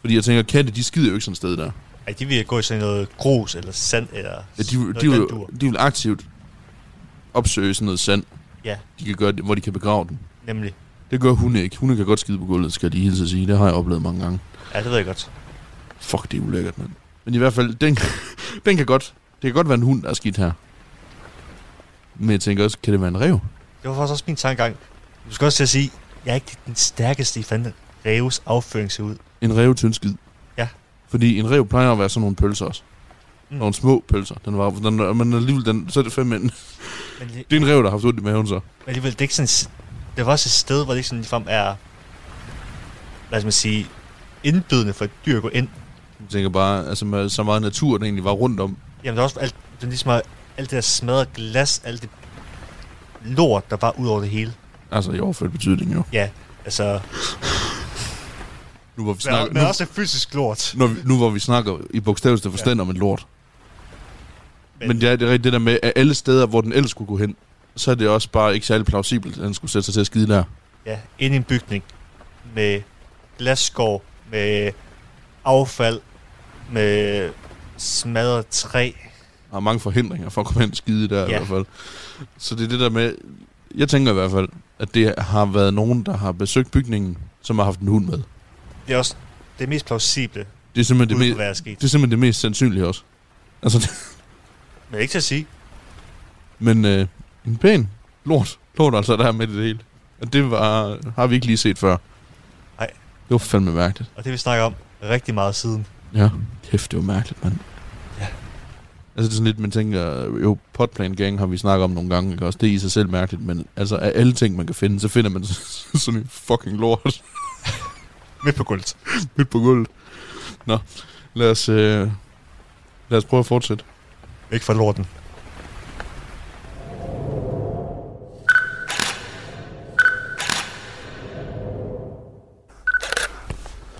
S3: Fordi jeg tænker, katte, de skider jo ikke sådan et sted der.
S9: Ej, de ville gå i sådan noget grus eller sand eller...
S3: Ja, de,
S9: noget
S3: de,
S9: i
S3: vil,
S9: den dur,
S3: de vil aktivt opsøge sådan noget sand.
S9: Ja.
S3: De kan gøre det, hvor de kan begrave den.
S9: Nemlig.
S3: Det gør hunde ikke. Hunde kan godt skide på gulvet, skal jeg lige hilse at sige. Det har jeg oplevet mange gange.
S9: Ja, det ved jeg godt.
S3: Fuck, det er ulækkert, mand. Men i hvert fald, den, den kan godt, det kan godt være en hund, der er skidt her. Men jeg tænker også, kan det være en rev?
S9: Det var faktisk også min tankegang. Du skal også til at sige, jeg er ikke den stærkeste i fanden. Reves afføring ser ud.
S3: En rev tyndskid.
S9: Ja.
S3: Fordi en rev plejer at være sådan nogle pølser også.
S9: Mm.
S3: Mm. Nogle små pølser. Den var, den, men alligevel, den, så er det fem mænd.
S9: Men det,
S3: Det er en rev, der har haft ondt i maven så.
S9: men alligevel, det er ikke sådan... s- Det var også et sted, hvor det ikke sådan ligefrem er... Lad os man sige... Indbydende for et dyr at gå ind.
S3: Jeg tænker bare, altså med så meget natur, der egentlig var rundt om.
S9: Jamen, der er også alt, det er ligesom alt det der smadret glas, alt det lort, der var ud over det hele.
S3: Altså i overført betydning jo.
S9: Ja, altså...
S3: Nu hvor vi
S9: Men,
S3: snakker,
S9: men
S3: nu,
S9: også fysisk lort.
S3: når vi, nu hvor vi snakker i bogstaveligste forstand ja. om en lort. Men, men det, er, det er rigtigt det der med, at alle steder, hvor den ellers skulle gå hen, så er det også bare ikke særlig plausibelt, at den skulle sætte sig til at skide der.
S9: Ja, ind i en bygning med glasskår, med affald, med smadret træ.
S3: har mange forhindringer for at komme hen og skide der ja. i
S9: Ja.
S3: hvert fald. Så det er det der med, jeg tænker i hvert fald, at det har været nogen, der har besøgt bygningen, som har haft en hund med.
S9: Det er også det mest plausible,
S3: Det er simpelthen
S9: det
S3: det,
S9: kunne
S3: me-
S9: være sket.
S3: det, er simpelthen det mest sandsynlige også. Altså, det,
S9: Men ikke til at sige.
S3: men øh, en pæn lort, lort altså der er med i det hele. Og det var, har vi ikke lige set før.
S9: Nej.
S3: Det var fandme mærkeligt.
S9: Og det vi snakker om rigtig meget siden.
S3: Ja, kæft, det var mærkeligt, mand.
S9: Ja.
S3: Altså det er sådan lidt, man tænker, jo, potplan gang har vi snakket om nogle gange, ikke også? Det er i sig selv mærkeligt, men altså af alle ting, man kan finde, så finder man sådan en fucking lort
S9: Midt på gulvet.
S3: midt på gulvet. Nå, lad os, øh, lad os prøve at fortsætte.
S9: Ikke for lorten.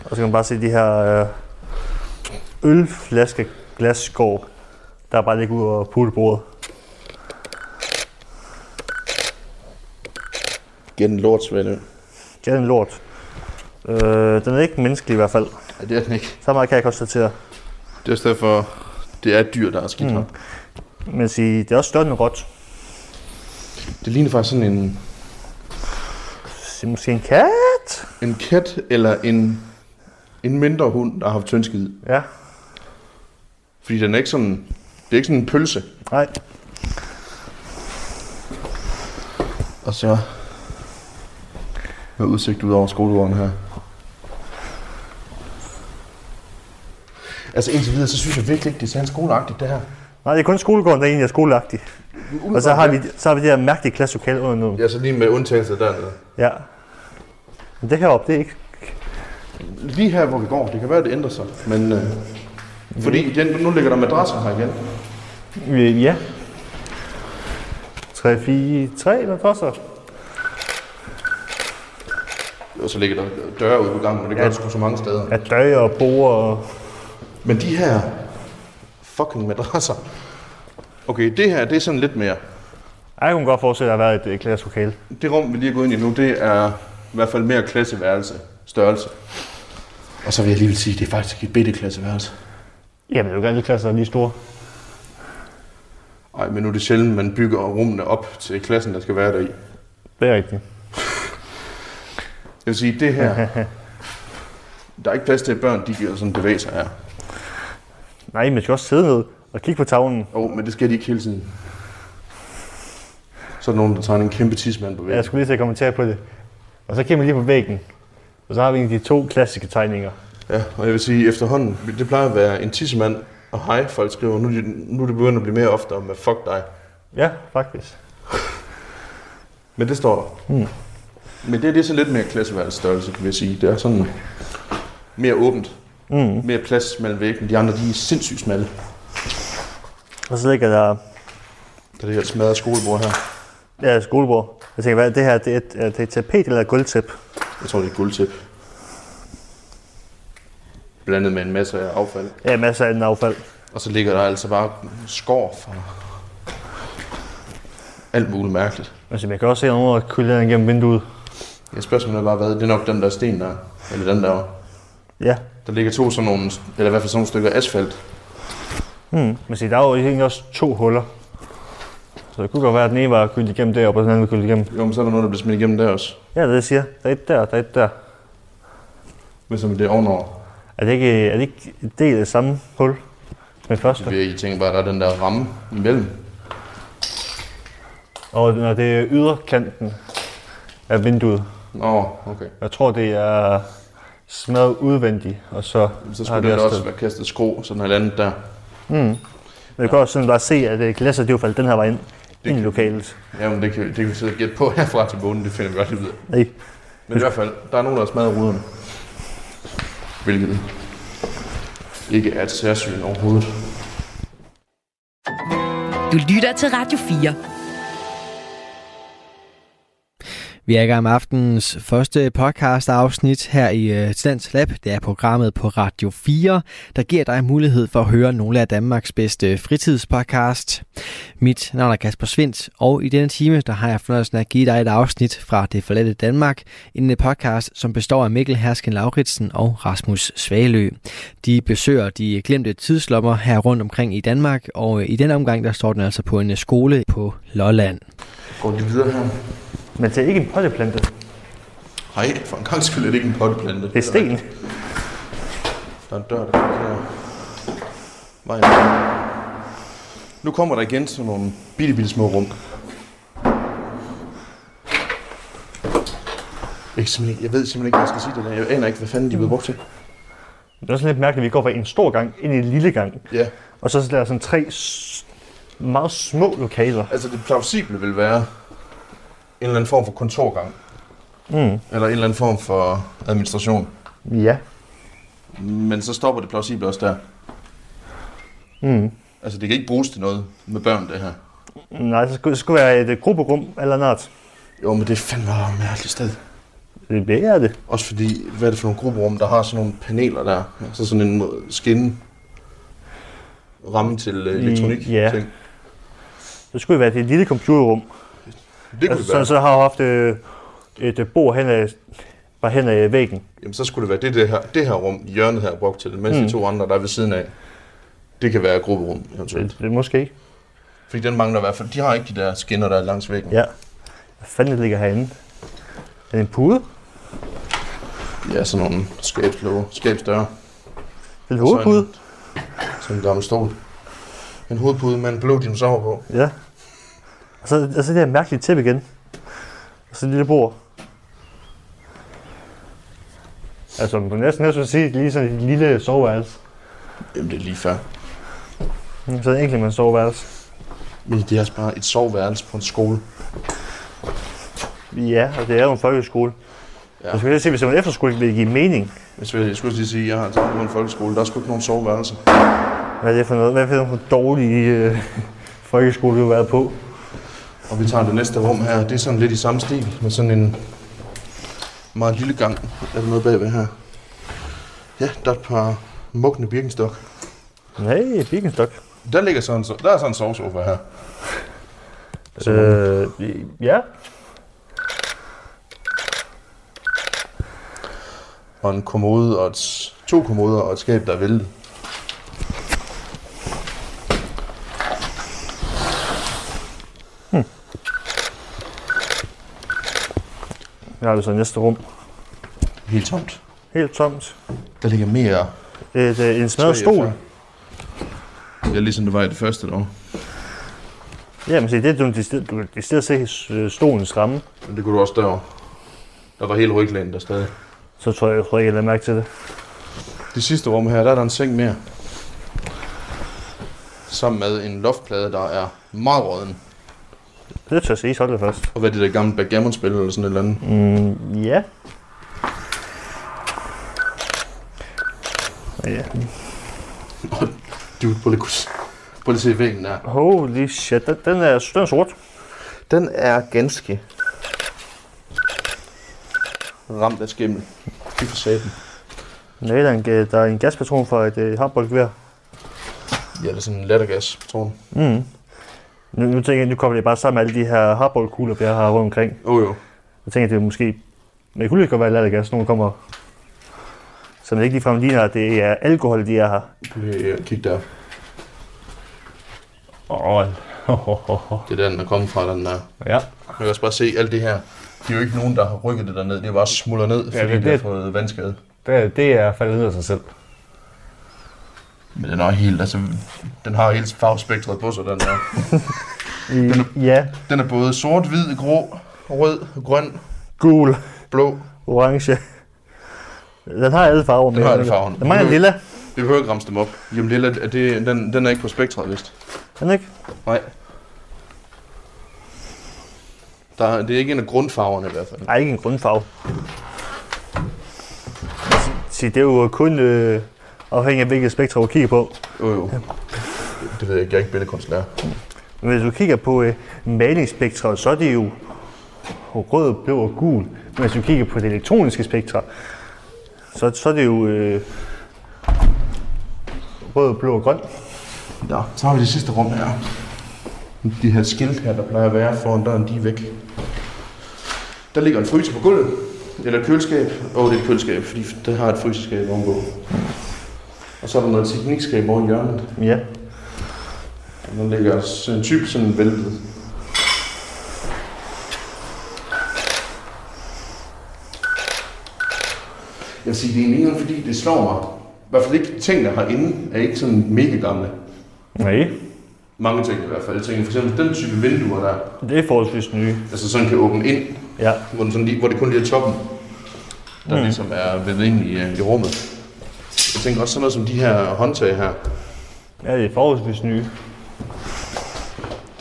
S6: Og så kan man bare se de her øh, ølflaske glasskår, der bare ligger ud over poolbordet.
S8: Gæt en lort, Svende.
S6: Det er en lort. Øh, den er ikke menneskelig i hvert fald.
S8: Ja, det er den ikke.
S6: Så meget kan jeg konstatere.
S8: Det er i stedet for, det er et dyr, der er skidt mm. her.
S6: Men sige, det er også større end en rot.
S8: Det ligner faktisk sådan en,
S6: Så Måske en kat?
S8: en kat eller en, en mindre hund, der har haft tyndskid.
S6: Ja,
S8: Fordi den er ikke sådan, det er ikke sådan en pølse.
S6: nej.
S8: Og så med udsigt ud over skolegården her. Altså indtil videre, så synes jeg virkelig ikke, det er særlig skoleagtigt, det her.
S6: Nej, det er kun skolegården, der egentlig er skoleagtig. Og så har vi, så har vi det her mærkelige klasselokale under noget.
S8: Ja, så lige med undtagelse dernede.
S6: Ja. Men det heroppe, det er ikke...
S8: Lige her, hvor vi går, det kan være, det ændrer sig. Men, øh, fordi igen, nu ligger der madrasser her igen.
S6: Øh, Ja. 3, 4, 3, hvad koster?
S8: Og så ligger der døre ude på gangen, og det gør
S6: Ja.
S8: det sgu så mange steder.
S6: Ja, døre og borer og...
S8: Men de her fucking madrasser, Okay, det her, det er sådan lidt mere.
S9: Jeg kunne godt forestille, at der har været et øh, klasselokale.
S8: Det rum, vi lige er gået ind i nu, det er i hvert fald mere klasseværelse, størrelse. Og så vil jeg lige vil sige, at det er faktisk et bitte klasseværelse.
S4: Jamen, det er jo ikke alle klasser, der er lige store.
S8: Ej, men nu er det sjældent, man bygger rummene op til klassen, der skal være deri.
S4: Det er rigtigt.
S8: Jeg vil sige, det her... Der er ikke plads til, at børn de giver sådan bevæge sig her.
S9: Nej, men skal også sidde ned og kigge på tavlen.
S8: Jo, oh, men det skal de ikke hele tiden. Så er der nogen, der tegner en kæmpe tidsmand på
S9: Jeg
S8: væggen.
S9: skulle lige til at kommentere på det. Og så kigger man lige på væggen. Og så har vi en af de to klassiske tegninger.
S8: Ja, og jeg vil sige, efterhånden, det plejer at være en tidsmand og hej, folk skriver. Nu, er de- nu er det begyndt at blive mere ofte med fuck dig.
S9: Ja, faktisk.
S8: Men det står der. Mm. Men det, det er sådan lidt mere klasseværelsesstørrelse, vil jeg sige. Det er sådan mere åbent. Mm. Mere plads mellem væggen. De andre, de er sindssygt smalle.
S9: Og så ligger der
S8: Der er det her smadret skolebord her.
S9: ja, skolebord. Jeg tænker, hvad er det her? Det er et, er det et tapet eller et gulvtæp?
S8: Jeg tror, det er et guldtæp. Blandet med en masse af affald.
S9: Ja, masser af den affald.
S8: Og så ligger der altså bare skår fra alt muligt mærkeligt.
S9: Altså, jeg kan også se nogen, der kylder ind gennem vinduet.
S8: Ja, spørgsmålet er bare, hvad det er nok den der sten der, eller den der.
S9: Ja,
S8: Der ligger to sådan nogle, eller i hvert fald sådan nogle stykker asfalt.
S9: men se, der er jo egentlig også to huller. Så det kunne godt være, at den ene var kyldt igennem deroppe, og den anden var kyldt igennem.
S8: Jo, men så er der noget, der bliver smidt igennem der også.
S9: Ja, det er det, jeg siger. Der er et der, og der er et der.
S8: Men som det er ovenover.
S9: Er det ikke, er det ikke en del af det samme hul som det første?
S8: Vi tænker bare, der er den der ramme imellem.
S9: Og når det er yderkanten af vinduet,
S8: Nå, okay.
S9: jeg tror, det er smadret udvendigt, og så,
S8: Så
S9: har
S8: skulle det
S9: også
S8: også
S9: det.
S8: være kastet skrå, sådan noget andet der.
S9: Men du kan også sådan bare se, at øh, glasset det er jo faldet den her vej ind, ind i lokalet.
S8: Jamen, det kan, det kan vi sidde og gætte på herfra til bunden, det finder vi godt lige ud af.
S9: Nej.
S8: Men i hvert fald, der er nogen, der har smadret ruderne. Hvilket ikke er et særsyn overhovedet.
S2: Du lytter til Radio 4.
S5: Vi er i gang med aftenens første podcast afsnit her i øh, Stans Lab. Det er programmet på Radio 4, der giver dig mulighed for at høre nogle af Danmarks bedste fritidspodcast. Mit navn er Kasper Svindt, og i denne time der har jeg fornøjelsen af at give dig et afsnit fra Det forladte Danmark, en øh, podcast, som består af Mikkel Hersken Lauritsen og Rasmus Svalø. De besøger de glemte tidslommer her rundt omkring i Danmark, og øh, i den omgang der står den altså på en øh, skole på Lolland.
S8: Går de videre her?
S9: Men det er ikke en potteplante.
S8: Nej, for en gang skyld er det ikke en potteplante.
S9: Det er sten.
S8: Der er en dør, der går der. Vejen. Nu kommer der igen sådan nogle bitte, bitte små rum. Jeg, kan simpelthen ikke, jeg ved simpelthen ikke, hvad jeg skal sige det der. Jeg aner ikke, hvad fanden de er blevet brugt til.
S9: Det er også lidt mærkeligt, at vi går fra en stor gang ind i en lille gang.
S8: Ja,
S9: Og så er der sådan tre s- meget små lokaler.
S8: altså det plausible vil være en eller anden form for kontorgang. Mm. Eller en eller anden form for administration.
S9: Ja.
S8: Men så stopper det plausible også der.
S9: Mm.
S8: Altså det kan ikke bruges til noget med børn, det her.
S9: Nej, så skulle, det skulle være et øh, grupperum eller noget. andet.
S8: Jo, men det er fandme bare et mærkeligt sted.
S9: Det er det.
S8: Også fordi, hvad er det for nogle grupperum, der har sådan nogle paneler der? Altså sådan en skinne ramme til øh, elektronik.
S9: ja.
S8: ting.
S9: Det skulle være et lille computerrum.
S8: Det kunne det
S9: Altså,
S8: være.
S9: sådan, så har jeg haft øh, et øh, bord hen ad, bare hen ad væggen.
S8: Jamen, så skulle det være det, det, her, det her rum, hjørnet her, er brugt til, mens mm. de to andre, der er ved siden af, det kan være et grupperum, eventuelt.
S9: Det, det måske ikke.
S8: Fordi den mangler i hvert fald. De har ikke de der skinner, der er langs væggen.
S9: Ja. Hvad fanden det ligger herinde? Er det en pude?
S8: ja sådan nogle skabslåge, skabsdøre.
S9: Det er en hovedpude?
S8: Sådan en gammel stol. En hovedpude med en blå dinosaur på.
S9: Ja. Og så, og så det her mærkelige tæppe igen. Og så et lille bord. Altså, man kunne næsten næsten sige, lige sådan et lille soveværelse.
S8: Jamen, det er lige før.
S9: Mm, Så egentlig man soveværelse.
S8: Men det er også bare et soveværelse på en skole.
S9: Ja, og det er jo en folkeskole.
S8: Ja.
S9: Ja. Jeg skulle lige se, hvis det var en efterskole, ville det give mening.
S8: Hvis jeg, jeg skulle lige sige, at jeg har taget på en folkeskole, der er sgu ikke nogen soveværelser.
S9: Hvad er det for noget? Hvad er det for nogle dårlige øh, folkeskole, du har været på?
S8: Og vi tager det næste rum her. Det er sådan lidt i samme stil, med sådan en meget lille gang. Er der noget bagved her? Ja, der er et par mugne birkenstok.
S9: Nej, Birkenstock.
S8: Der ligger sådan, so- der er sådan en sovesofa her.
S9: Øh, ja.
S8: Og en kommode og et, s- to kommoder og et skab, der er væltet.
S9: Her har vi så næste rum.
S8: Helt tomt.
S9: Helt tomt.
S8: Der ligger mere
S9: Et, øh, en smadret
S8: træ
S9: stol.
S8: for. Ja, ligesom det var i det første dog.
S9: Jamen se, det er du, du, du, du kan se øh, stolens ramme.
S8: Men det kunne du også derovre. Der var hele ryglænen der stadig.
S9: Så tror jeg, jeg tror ikke, jeg lader mærke til det.
S8: Det sidste rum her, der er der en seng mere. Sammen med en loftplade, der er meget råden.
S9: Det tør jeg sige, hold det fast.
S8: Og hvad er det der gamle backgammon-spil eller sådan et eller andet.
S9: Mm, ja. Ja.
S8: Dude, prøv lige, at- prøv lige at se væggen der.
S9: Holy shit, den, den, er, den er sort.
S8: Den er ganske ramt af skimmel. Fy for satan.
S9: Nej, der er en, ga- der er en gaspatron fra et øh, håndboldgevær.
S8: Ja, det er sådan en lattergas, tror jeg.
S9: Mm. Nu, nu tænker jeg, nu kommer det bare sammen med alle de her hardballkugler, vi har rundt omkring.
S8: Åh oh, jo.
S9: Jeg tænker, det er måske... Men det kunne lige godt være lattergas, nogen kommer... Så man ikke ligefrem ligner, at det er alkohol, de er her.
S8: Prøv lige at kigge der.
S9: Åh,
S8: Det er der, den er kommet fra, den der.
S9: ja.
S8: Man kan også bare se alt det her. Det er jo ikke nogen, der har rykket det derned. Det er bare smuldrer ned, fordi ja,
S4: det er
S8: det, det. har
S4: det.
S8: fået vandskade.
S4: Det, det er faldet ned af sig selv.
S8: Men den er helt, altså, den har hele farvespektret på sig, den der.
S9: I, ja,
S8: Den er både sort, hvid, grå, rød, grøn,
S9: gul,
S8: blå.
S9: orange. Den har alle farver med.
S8: Den har alle farver.
S9: Den mangler lilla.
S8: Vi behøver ikke ramse dem op. Jamen lille, er det, den, den er ikke på spektret, vist.
S9: Den ikke?
S8: Nej. Der, det er ikke en af grundfarverne i hvert fald.
S9: Nej, ikke en grundfarve. Se, det er jo kun øh, afhængig af, hvilket spektrum du kigger på.
S8: Jo, jo. Det, det ved jeg ikke. Jeg er ikke billedkunstlærer.
S9: Men hvis du kigger på øh, malingsspektret, så er det jo rød, blå og gul. Men hvis du kigger på det elektroniske spektrum, så, så er det jo øh, rød, blå og grøn.
S8: Nå, så har vi det sidste rum her. De her skilt her, der plejer at være foran døren, de er væk. Der ligger en fryser på gulvet. Eller et køleskab. Åh, oh, det er et køleskab, fordi det har et fryseskab ovenpå. Og så er der noget teknikskab over i hjørnet.
S9: Ja.
S8: Og der ligger sådan en type sådan væltet. Jeg vil sige, det er en engang, fordi det slår mig. I hvert fald ikke tingene herinde er ikke sådan mega gamle.
S9: Nej.
S8: Mange ting i hvert fald. Jeg tænker for eksempel den type vinduer der,
S9: Det er forholdsvis nye.
S8: altså sådan kan åbne ind,
S9: Ja.
S8: hvor, den sådan lige, hvor det kun lige er toppen, der mm. ligesom er ved ind i, øh, i rummet. Jeg tænker også sådan noget som de her håndtag her.
S9: Ja, det er forholdsvis nye.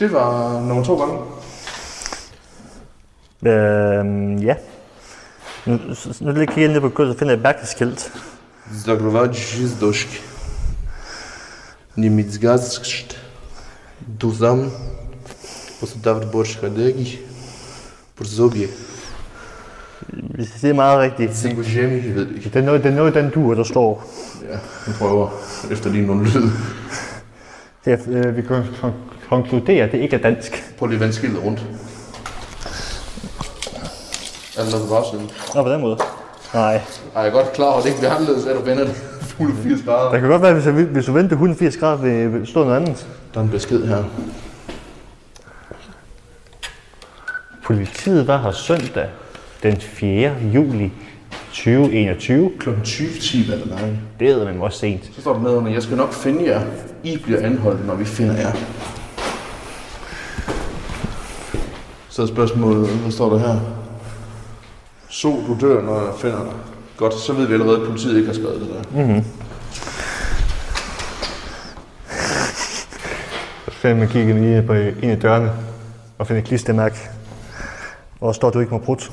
S8: Det var nummer to gange.
S9: Øhm, ja. Nu, s- nu lige kigger jeg ned på gulvet, så finder jeg et mærkeligt skilt.
S8: Zagrowadzi z doszki. Niemiecgaszt. Duzam. Posudawr borsch hadegi. Porzobie.
S9: Hvis det er meget rigtigt.
S8: Singo ziemi, jeg ved det ikke.
S9: Det er noget, det er noget den dur, der står.
S8: Ja, jeg prøver efter lige nogle lyd.
S9: Det er, øh, vi kan kon- konkludere, at det ikke er dansk.
S8: Prøv lige at vende skiltet rundt. Er der noget på bagsiden?
S9: Nå, på den måde. Nej.
S8: Ej, jeg er godt klar over, at det ikke bliver anderledes, at du vender det fulde 80 grader.
S9: Der kan godt være, hvis, jeg, hvis du vendte 180 grader, vil, vil stå noget andet.
S8: Der er en besked her.
S9: Politiet var her søndag den 4. juli 2021.
S8: Klokken 20.10 er det nej.
S9: Det er man også sent.
S8: Så står der nedenunder, jeg skal nok finde jer. I bliver anholdt, når vi finder jer. Så er spørgsmålet, hvad står der her? Så du dør, når jeg finder dig. Godt, så ved vi allerede, at politiet ikke har skrevet det der.
S9: Så finder man kigge lige på ind i dørene og finder et klistermærke. Og står du ikke må brudt.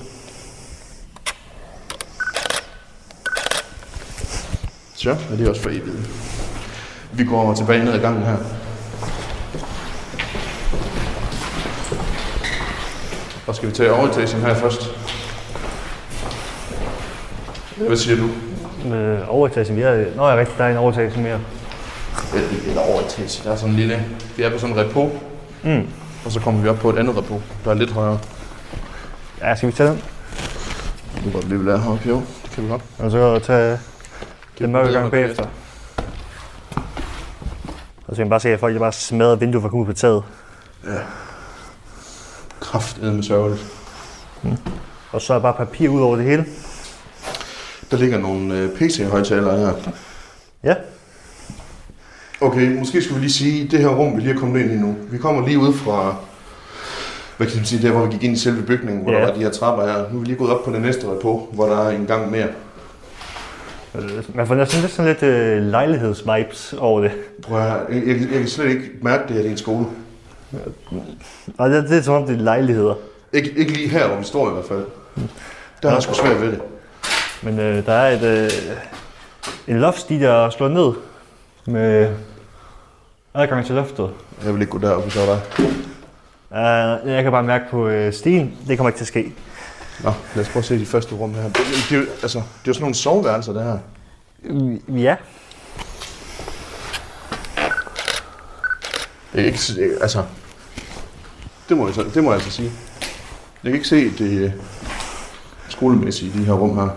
S8: Så er det også for evigt. Vi går tilbage ned ad gangen her. Og skal vi tage overetagen her først? Hvad siger du?
S9: Med overetagen, vi havde... Nå, jeg rigtig, der er en overetagelse mere.
S8: et- eller over etage. Der er sådan en lille... Vi er på sådan en repo. Mm. Og så kommer vi op på et andet repo, der er lidt højere.
S9: Ja, skal vi tage den?
S8: Det kan godt blive, vi lader heroppe, jo. Det kan vi godt.
S9: Og så tage den mørke gang bagefter. Og så kan man bare se, at folk de bare smadrer vinduet for at komme ud på taget.
S8: Kraftedeme sørgeligt.
S9: Og så er bare papir ud over det hele.
S8: Der ligger nogle øh, PC-højtalere her.
S9: Ja.
S8: Okay, måske skal vi lige sige, det her rum, vi lige er kommet ind i nu, vi kommer lige ud fra, hvad kan man sige, der hvor vi gik ind i selve bygningen, hvor
S9: Ja.
S8: der var de her trapper her. Nu er vi lige gået op på den næste repo, hvor der er en gang mere.
S9: Øh, Man får næsten lidt sådan lidt øh, lejlighedsvibes over det.
S8: Prøv at høre, jeg, jeg, jeg kan slet ikke mærke det her, det er en skole.
S9: Og det, det er som om, det er lejligheder.
S8: Ikke, ikke lige her, hvor vi står i hvert fald. Der er jeg sgu svært ved det.
S9: Men øh, der er et, øh, en loftsti, der slår ned med adgang til loftet.
S8: Jeg vil ikke gå derop, hvis jeg var dig.
S9: Uh, jeg kan bare mærke på øh, stigen, det kommer ikke til at ske.
S8: Nå, lad os prøve at se de første rum her. Det, det, er jo- altså, det er jo sådan nogle soveværelser, det her.
S9: Ja.
S8: Jeg kan ikke se, altså... Det må, jeg, så- det må jeg altså sige. Jeg kan ikke se det øh, skolemæssige i de her rum her.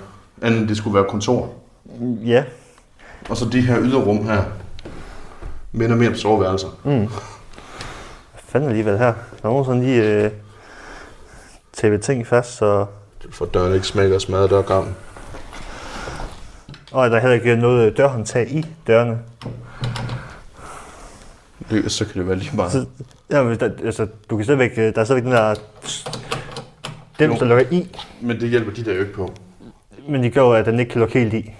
S8: Andet end det skulle være kontor.
S9: Ja.
S8: Og så de her yderrum her. Minder mere om soveværelser.
S9: Hvad fanden alligevel her? Der er nogen sådan lige øh, tæppe ting fast, så...
S8: For døren ikke smækker og smadrer dørgammen.
S9: Og der er heller ikke noget dørhåndtag i dørene.
S8: Løs, så kan det være lige
S9: Så,
S8: meget.
S9: ja, men der, altså, du kan stadigvæk, øh, der er stadigvæk den der dem,
S8: Jo.
S9: der lukker i,
S8: Men det hjælper de der jo ikke på.
S9: men det gør jo, at den ikke kan lukke helt i.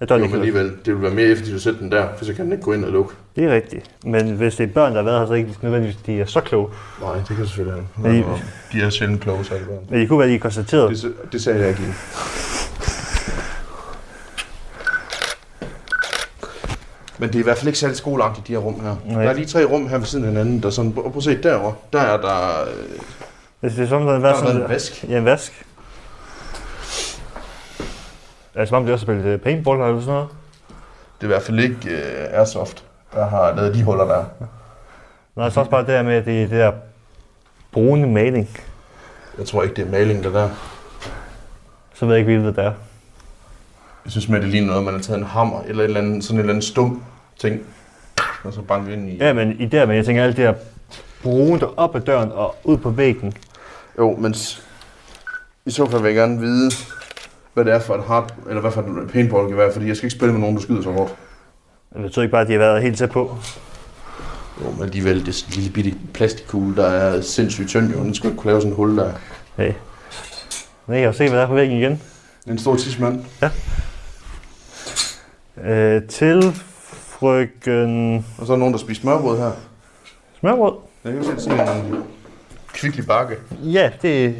S9: At døren
S8: Jo,
S9: ikke
S8: men
S9: kan lukke.
S8: alligevel, det vil være mere effektivt at sætte den der, for så kan den ikke gå ind og lukke.
S9: Det er rigtigt. Men hvis det er børn, der har været her, så er det ikke nødvendigvis, de er så kloge.
S8: Nej, det kan selvfølgelig
S9: Men I-
S8: ikke. De er sjældent kloge, så det
S9: Men det kunne være, de er konstateret.
S8: det, det sagde jeg ikke lige. Men det er i hvert fald ikke særlig skoleagtigt, de her rum her.
S9: Nej.
S8: Der er lige tre rum her ved siden af hinanden, der sådan... Prøv at se derovre. Der er der... øh,
S9: Altså, det er som om, der har
S8: Der
S9: været
S8: er
S9: sådan...
S8: der en vask.
S9: Ja, en vask. Er det som om, de også har spillet øh, paintball eller sådan noget?
S8: Det er i hvert fald ikke øh, Airsoft, der har lavet de huller der.
S9: Nej, så også bare det der med, at det er det der brune maling.
S8: Jeg tror ikke, det er maling, der er der.
S9: Så ved jeg ikke, hvilket det er.
S8: Jeg synes mere, det ligner noget, man har taget en hammer eller et eller andet, sådan en eller anden stum ting, og så banket ind i.
S9: Ja, men i der, men jeg tænker, alt det der brune, der op ad døren og ud på væggen.
S8: Jo, men s- i så fald vil jeg gerne vide, hvad det er for et hard, eller hvad for et paintball kan være, fordi jeg skal ikke spille med nogen, der skyder så hårdt.
S9: Det betyder ikke bare, at de har været helt tæt på.
S8: Jo, men alligevel, det er sådan en lille bitte plastikkugle, der er sindssygt tynd, jo. Den skulle ikke kunne lave sådan et hul der.
S9: Hey. Nej, jeg har set, hvad der er på væggen igen.
S8: En stor tidsmand.
S9: Øh, til frøken
S8: Og så er der nogen, der spiser smørbrød her.
S9: Smørbrød.
S8: Jeg kan se sådan en kvicklig bakke.
S9: Ja, det,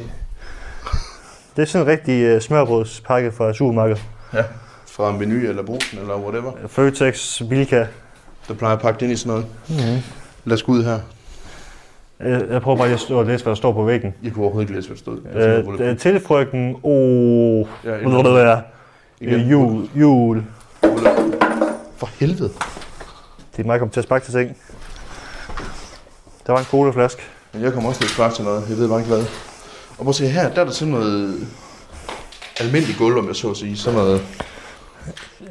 S9: det er sådan en rigtig uh, smørbrødspakke fra supermarkedet.
S8: Ja. Fra menu eller brusen eller whatever.
S9: Føtex, Bilka.
S8: Der plejer at pakke det ind i sådan noget. Mm-hmm.
S9: Mhm.
S8: Lad os gå ud her.
S9: Øh, Jeg prøver bare lige at stå og læse, hvad der står på væggen.
S8: Jeg kunne overhovedet ikke læse, hvad der stod. Jeg tænker, hvor
S9: Øh,
S8: det-
S9: øh, til frøken O... Oh,
S8: Ja,
S9: hvad det er?
S8: Igen.
S9: Øh, Jul, jul.
S8: For helvede.
S9: Det er mig, der kom til at sparke til ting. Der var en colaflaske.
S8: Men jeg kommer også lidt kvart til noget. Jeg ved bare ikke hvad. Og prøv at se her, der er der sådan noget almindeligt gulv, om jeg så at sige. Sådan noget...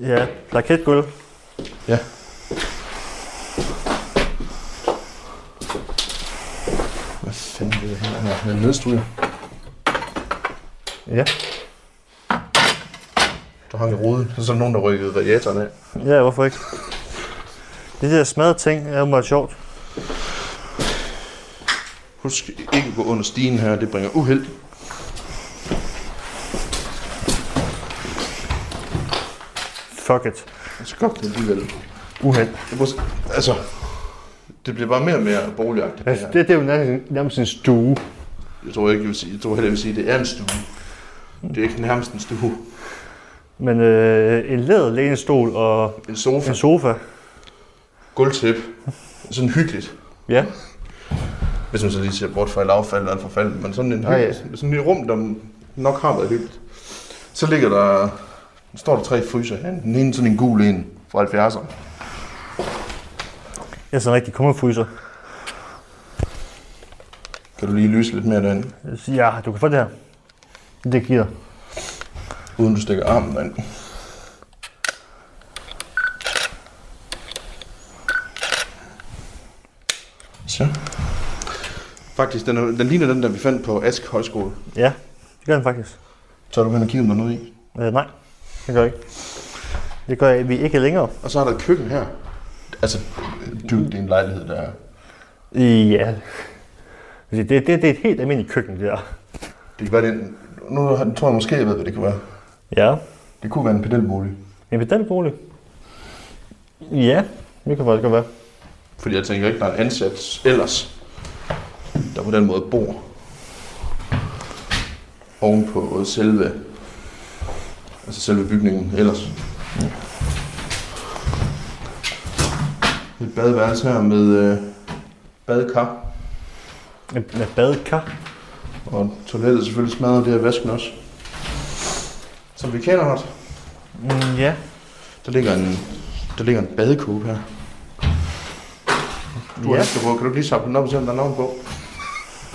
S9: Ja, laketgulv.
S8: Ja. Hvad fanden er det her? her? En nedstryger.
S9: Ja.
S8: Der hang i ruden. Så er der nogen, der rykkede radiatoren af.
S9: Ja, hvorfor ikke? Det der smadrede ting er jo meget sjovt.
S8: Husk ikke at gå under stigen her, det bringer uheld.
S9: Fuck it.
S8: Så Altså, godt det alligevel.
S9: Uheld.
S8: Jeg prøver, at se- altså, det bliver bare mere og mere boligagtigt. Det
S9: Altså,
S8: her.
S9: det, det er jo nærmest, nærmest en stue.
S8: Jeg tror ikke, jeg vil sige, jeg tror heller, jeg vil sige, at det er en stue. Det er ikke nærmest en stue.
S9: Men øh, en læder lænestol og
S8: En sofa.
S9: en sofa.
S8: gulvtæppe. Sådan hyggeligt.
S9: Ja.
S8: Hvis man så lige ser bort fra et affald og et forfald, men sådan en
S9: ja.
S8: hyggelig, sådan et rum, der nok har været hyggeligt. Så ligger der, står der tre fryser her. Den ene sådan en gul en fra 70'erne.
S9: Jeg er sådan en rigtig kummerfryser.
S8: Kan du lige lyse lidt mere derinde,
S9: Ja, du kan få det her. Det giver.
S8: uden du stikker armen derind? Så. Faktisk, den, er, den ligner den, der vi fandt på Ask Højskole.
S9: Ja, det gør den faktisk.
S8: Så du begyndt at kigge om der er noget i.
S9: Øh, nej, det gør jeg ikke. Det gør jeg, vi ikke længere.
S8: Og så er der et køkken her. Altså, du, det er en lejlighed, der er...
S9: Ja. Det, det, det, det er et helt almindeligt køkken, det der.
S8: Det kan være, det er en, nu har- tror jeg måske, jeg ved, hvad det kunne være.
S9: Ja.
S8: Det kunne være en pedelbolig.
S9: En pedalbolig? Ja, det kan faktisk godt være.
S8: Fordi jeg tænker ikke, der er en ansat ellers, der på den måde bor ovenpå selve, altså selve bygningen ellers. Et badeværelse her med øh, badekar,
S9: Med, med badekar.
S8: og toilettet er selvfølgelig smadret, det er vasken også. Som vi kender godt,
S9: Mm, ja.
S8: der ligger en, der ligger en badekåbe her. Du har
S9: Ja.
S8: ja. kan du lige samle den op og se, om der er navn på?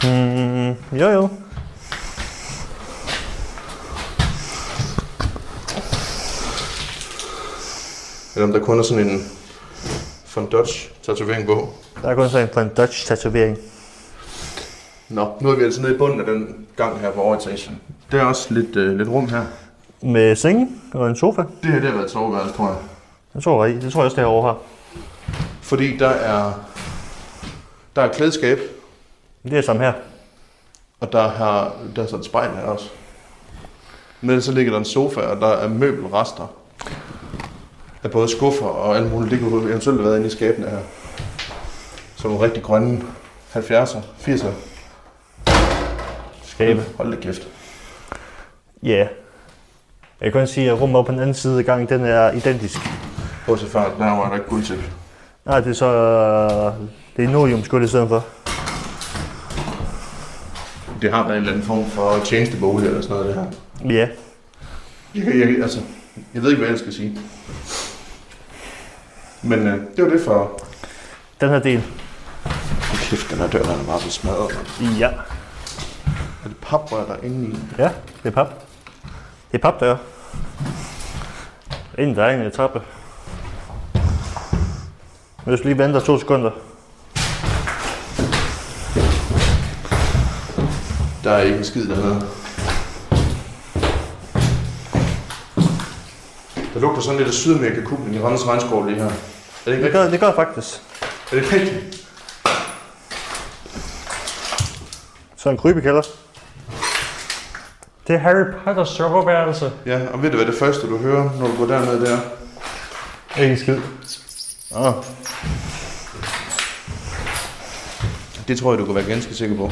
S9: Mm, jo jo.
S8: Eller om der kun er sådan en von Dutch tatovering på.
S9: Der er kun sådan en- på en Dutch tatovering.
S8: Nå, nu er vi altså nede i bunden af den gang her på overetagen. Der er også lidt, øh, lidt rum her.
S9: Med senge og en sofa.
S8: Det her, det har været et soveværelse, tror jeg.
S9: Det tror jeg, det tror jeg også, det her over her.
S8: Fordi der er, der er klædeskab,
S9: Det er samme her.
S8: og der, har, der er så et spejl her også. Men så ligger der en sofa, og der er møbelrester. Af både skuffer og alt muligt. Det kunne eventuelt have været inde i skabene her. Som nogle rigtig grønne 70'er, 80'er.
S9: Skabe.
S8: Hold da kæft.
S9: Ja. Jeg kan kun sige, at rummet oppe på den anden side af gangen, den er identisk.
S8: Bortset fra, at der var der ikke guldtæppe.
S9: Nej, det er så... øh, Det er Nolium skulle i stedet for.
S8: Det har været en eller anden form for tjenestebolig eller sådan noget, det her.
S9: Ja.
S8: Jeg, jeg, altså, jeg ved ikke, hvad jeg skal sige. Men øh, det var det for...
S9: Den her del.
S8: Oh, kæft, den her dør, den er bare blevet smadret. mand.
S9: Ja.
S8: Er det paprør, der er inde i?
S9: Ja, det er pap. Det er papdør. Inden der er en etape. Hvis du lige venter to sekunder.
S8: Der er ikke en skid dernede. Der lugter sådan lidt af Sydamerika-kublen i Randers Regnskov lige her. Er det ikke
S9: Det
S8: rigtigt?
S9: gør, det gør faktisk.
S8: Er det ikke rigtigt?
S9: Så en krybekælder. Det er Harry Potter soveværelse.
S8: Ja, og ved du, hvad det første, du hører, når du går derned der?
S9: Ikke en skid.
S8: Ah. Det tror jeg, du kan være ganske sikker på.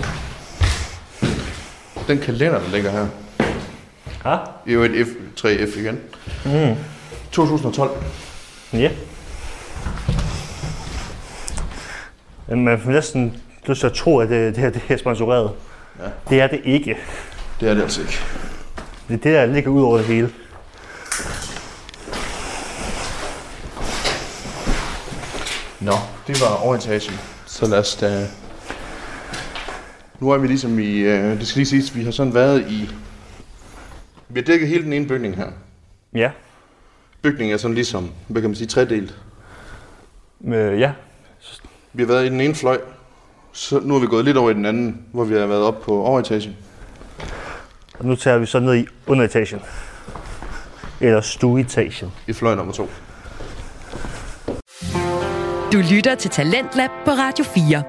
S8: Den kalender, der ligger her.
S9: Ja?
S8: Det er jo et F, 3F igen. Mm. 2012.
S9: Ja. Jamen, Man får næsten lyst til at tro, at det, det her det er sponsoreret.
S8: Ja.
S9: Det er det ikke.
S8: Det er det altså ikke.
S9: Det er det, der ligger ud over det hele.
S8: Nå, det var overetagen. Så lad os da... Nu er vi ligesom i... Øh, det skal lige siges, vi har sådan været i... Vi har dækket hele den ene bygning her.
S9: Ja.
S8: Bygningen er sådan ligesom, hvad kan man sige, tredelt.
S9: Øh, ja.
S8: Vi har været i den ene fløj, så nu er vi gået lidt over i den anden, hvor vi har været op på overetagen.
S9: Og nu tager vi så ned i underetagen. Eller stueetagen.
S8: I fløj nummer to.
S2: Du lytter til Talentlab på Radio 4.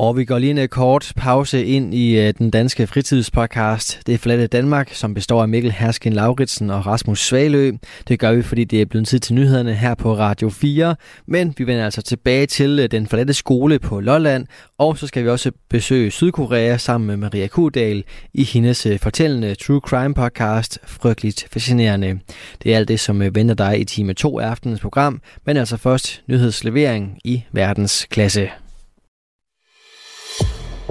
S5: Og vi går lige en øh, kort pause ind i øh, den danske fritidspodcast. Det er Flatte Danmark, som består af Mikkel Hersken Lauritsen og Rasmus Svalø. Det gør vi, fordi det er blevet tid til nyhederne her på Radio 4. Men vi vender altså tilbage til øh, den forladte skole på Lolland. Og så skal vi også besøge Sydkorea sammen med Maria Kudal i hendes øh, fortællende True Crime podcast Frygteligt Fascinerende. Det er alt det, som øh, venter dig i time 2 af aftenens program. Men altså først nyhedslevering i verdensklasse.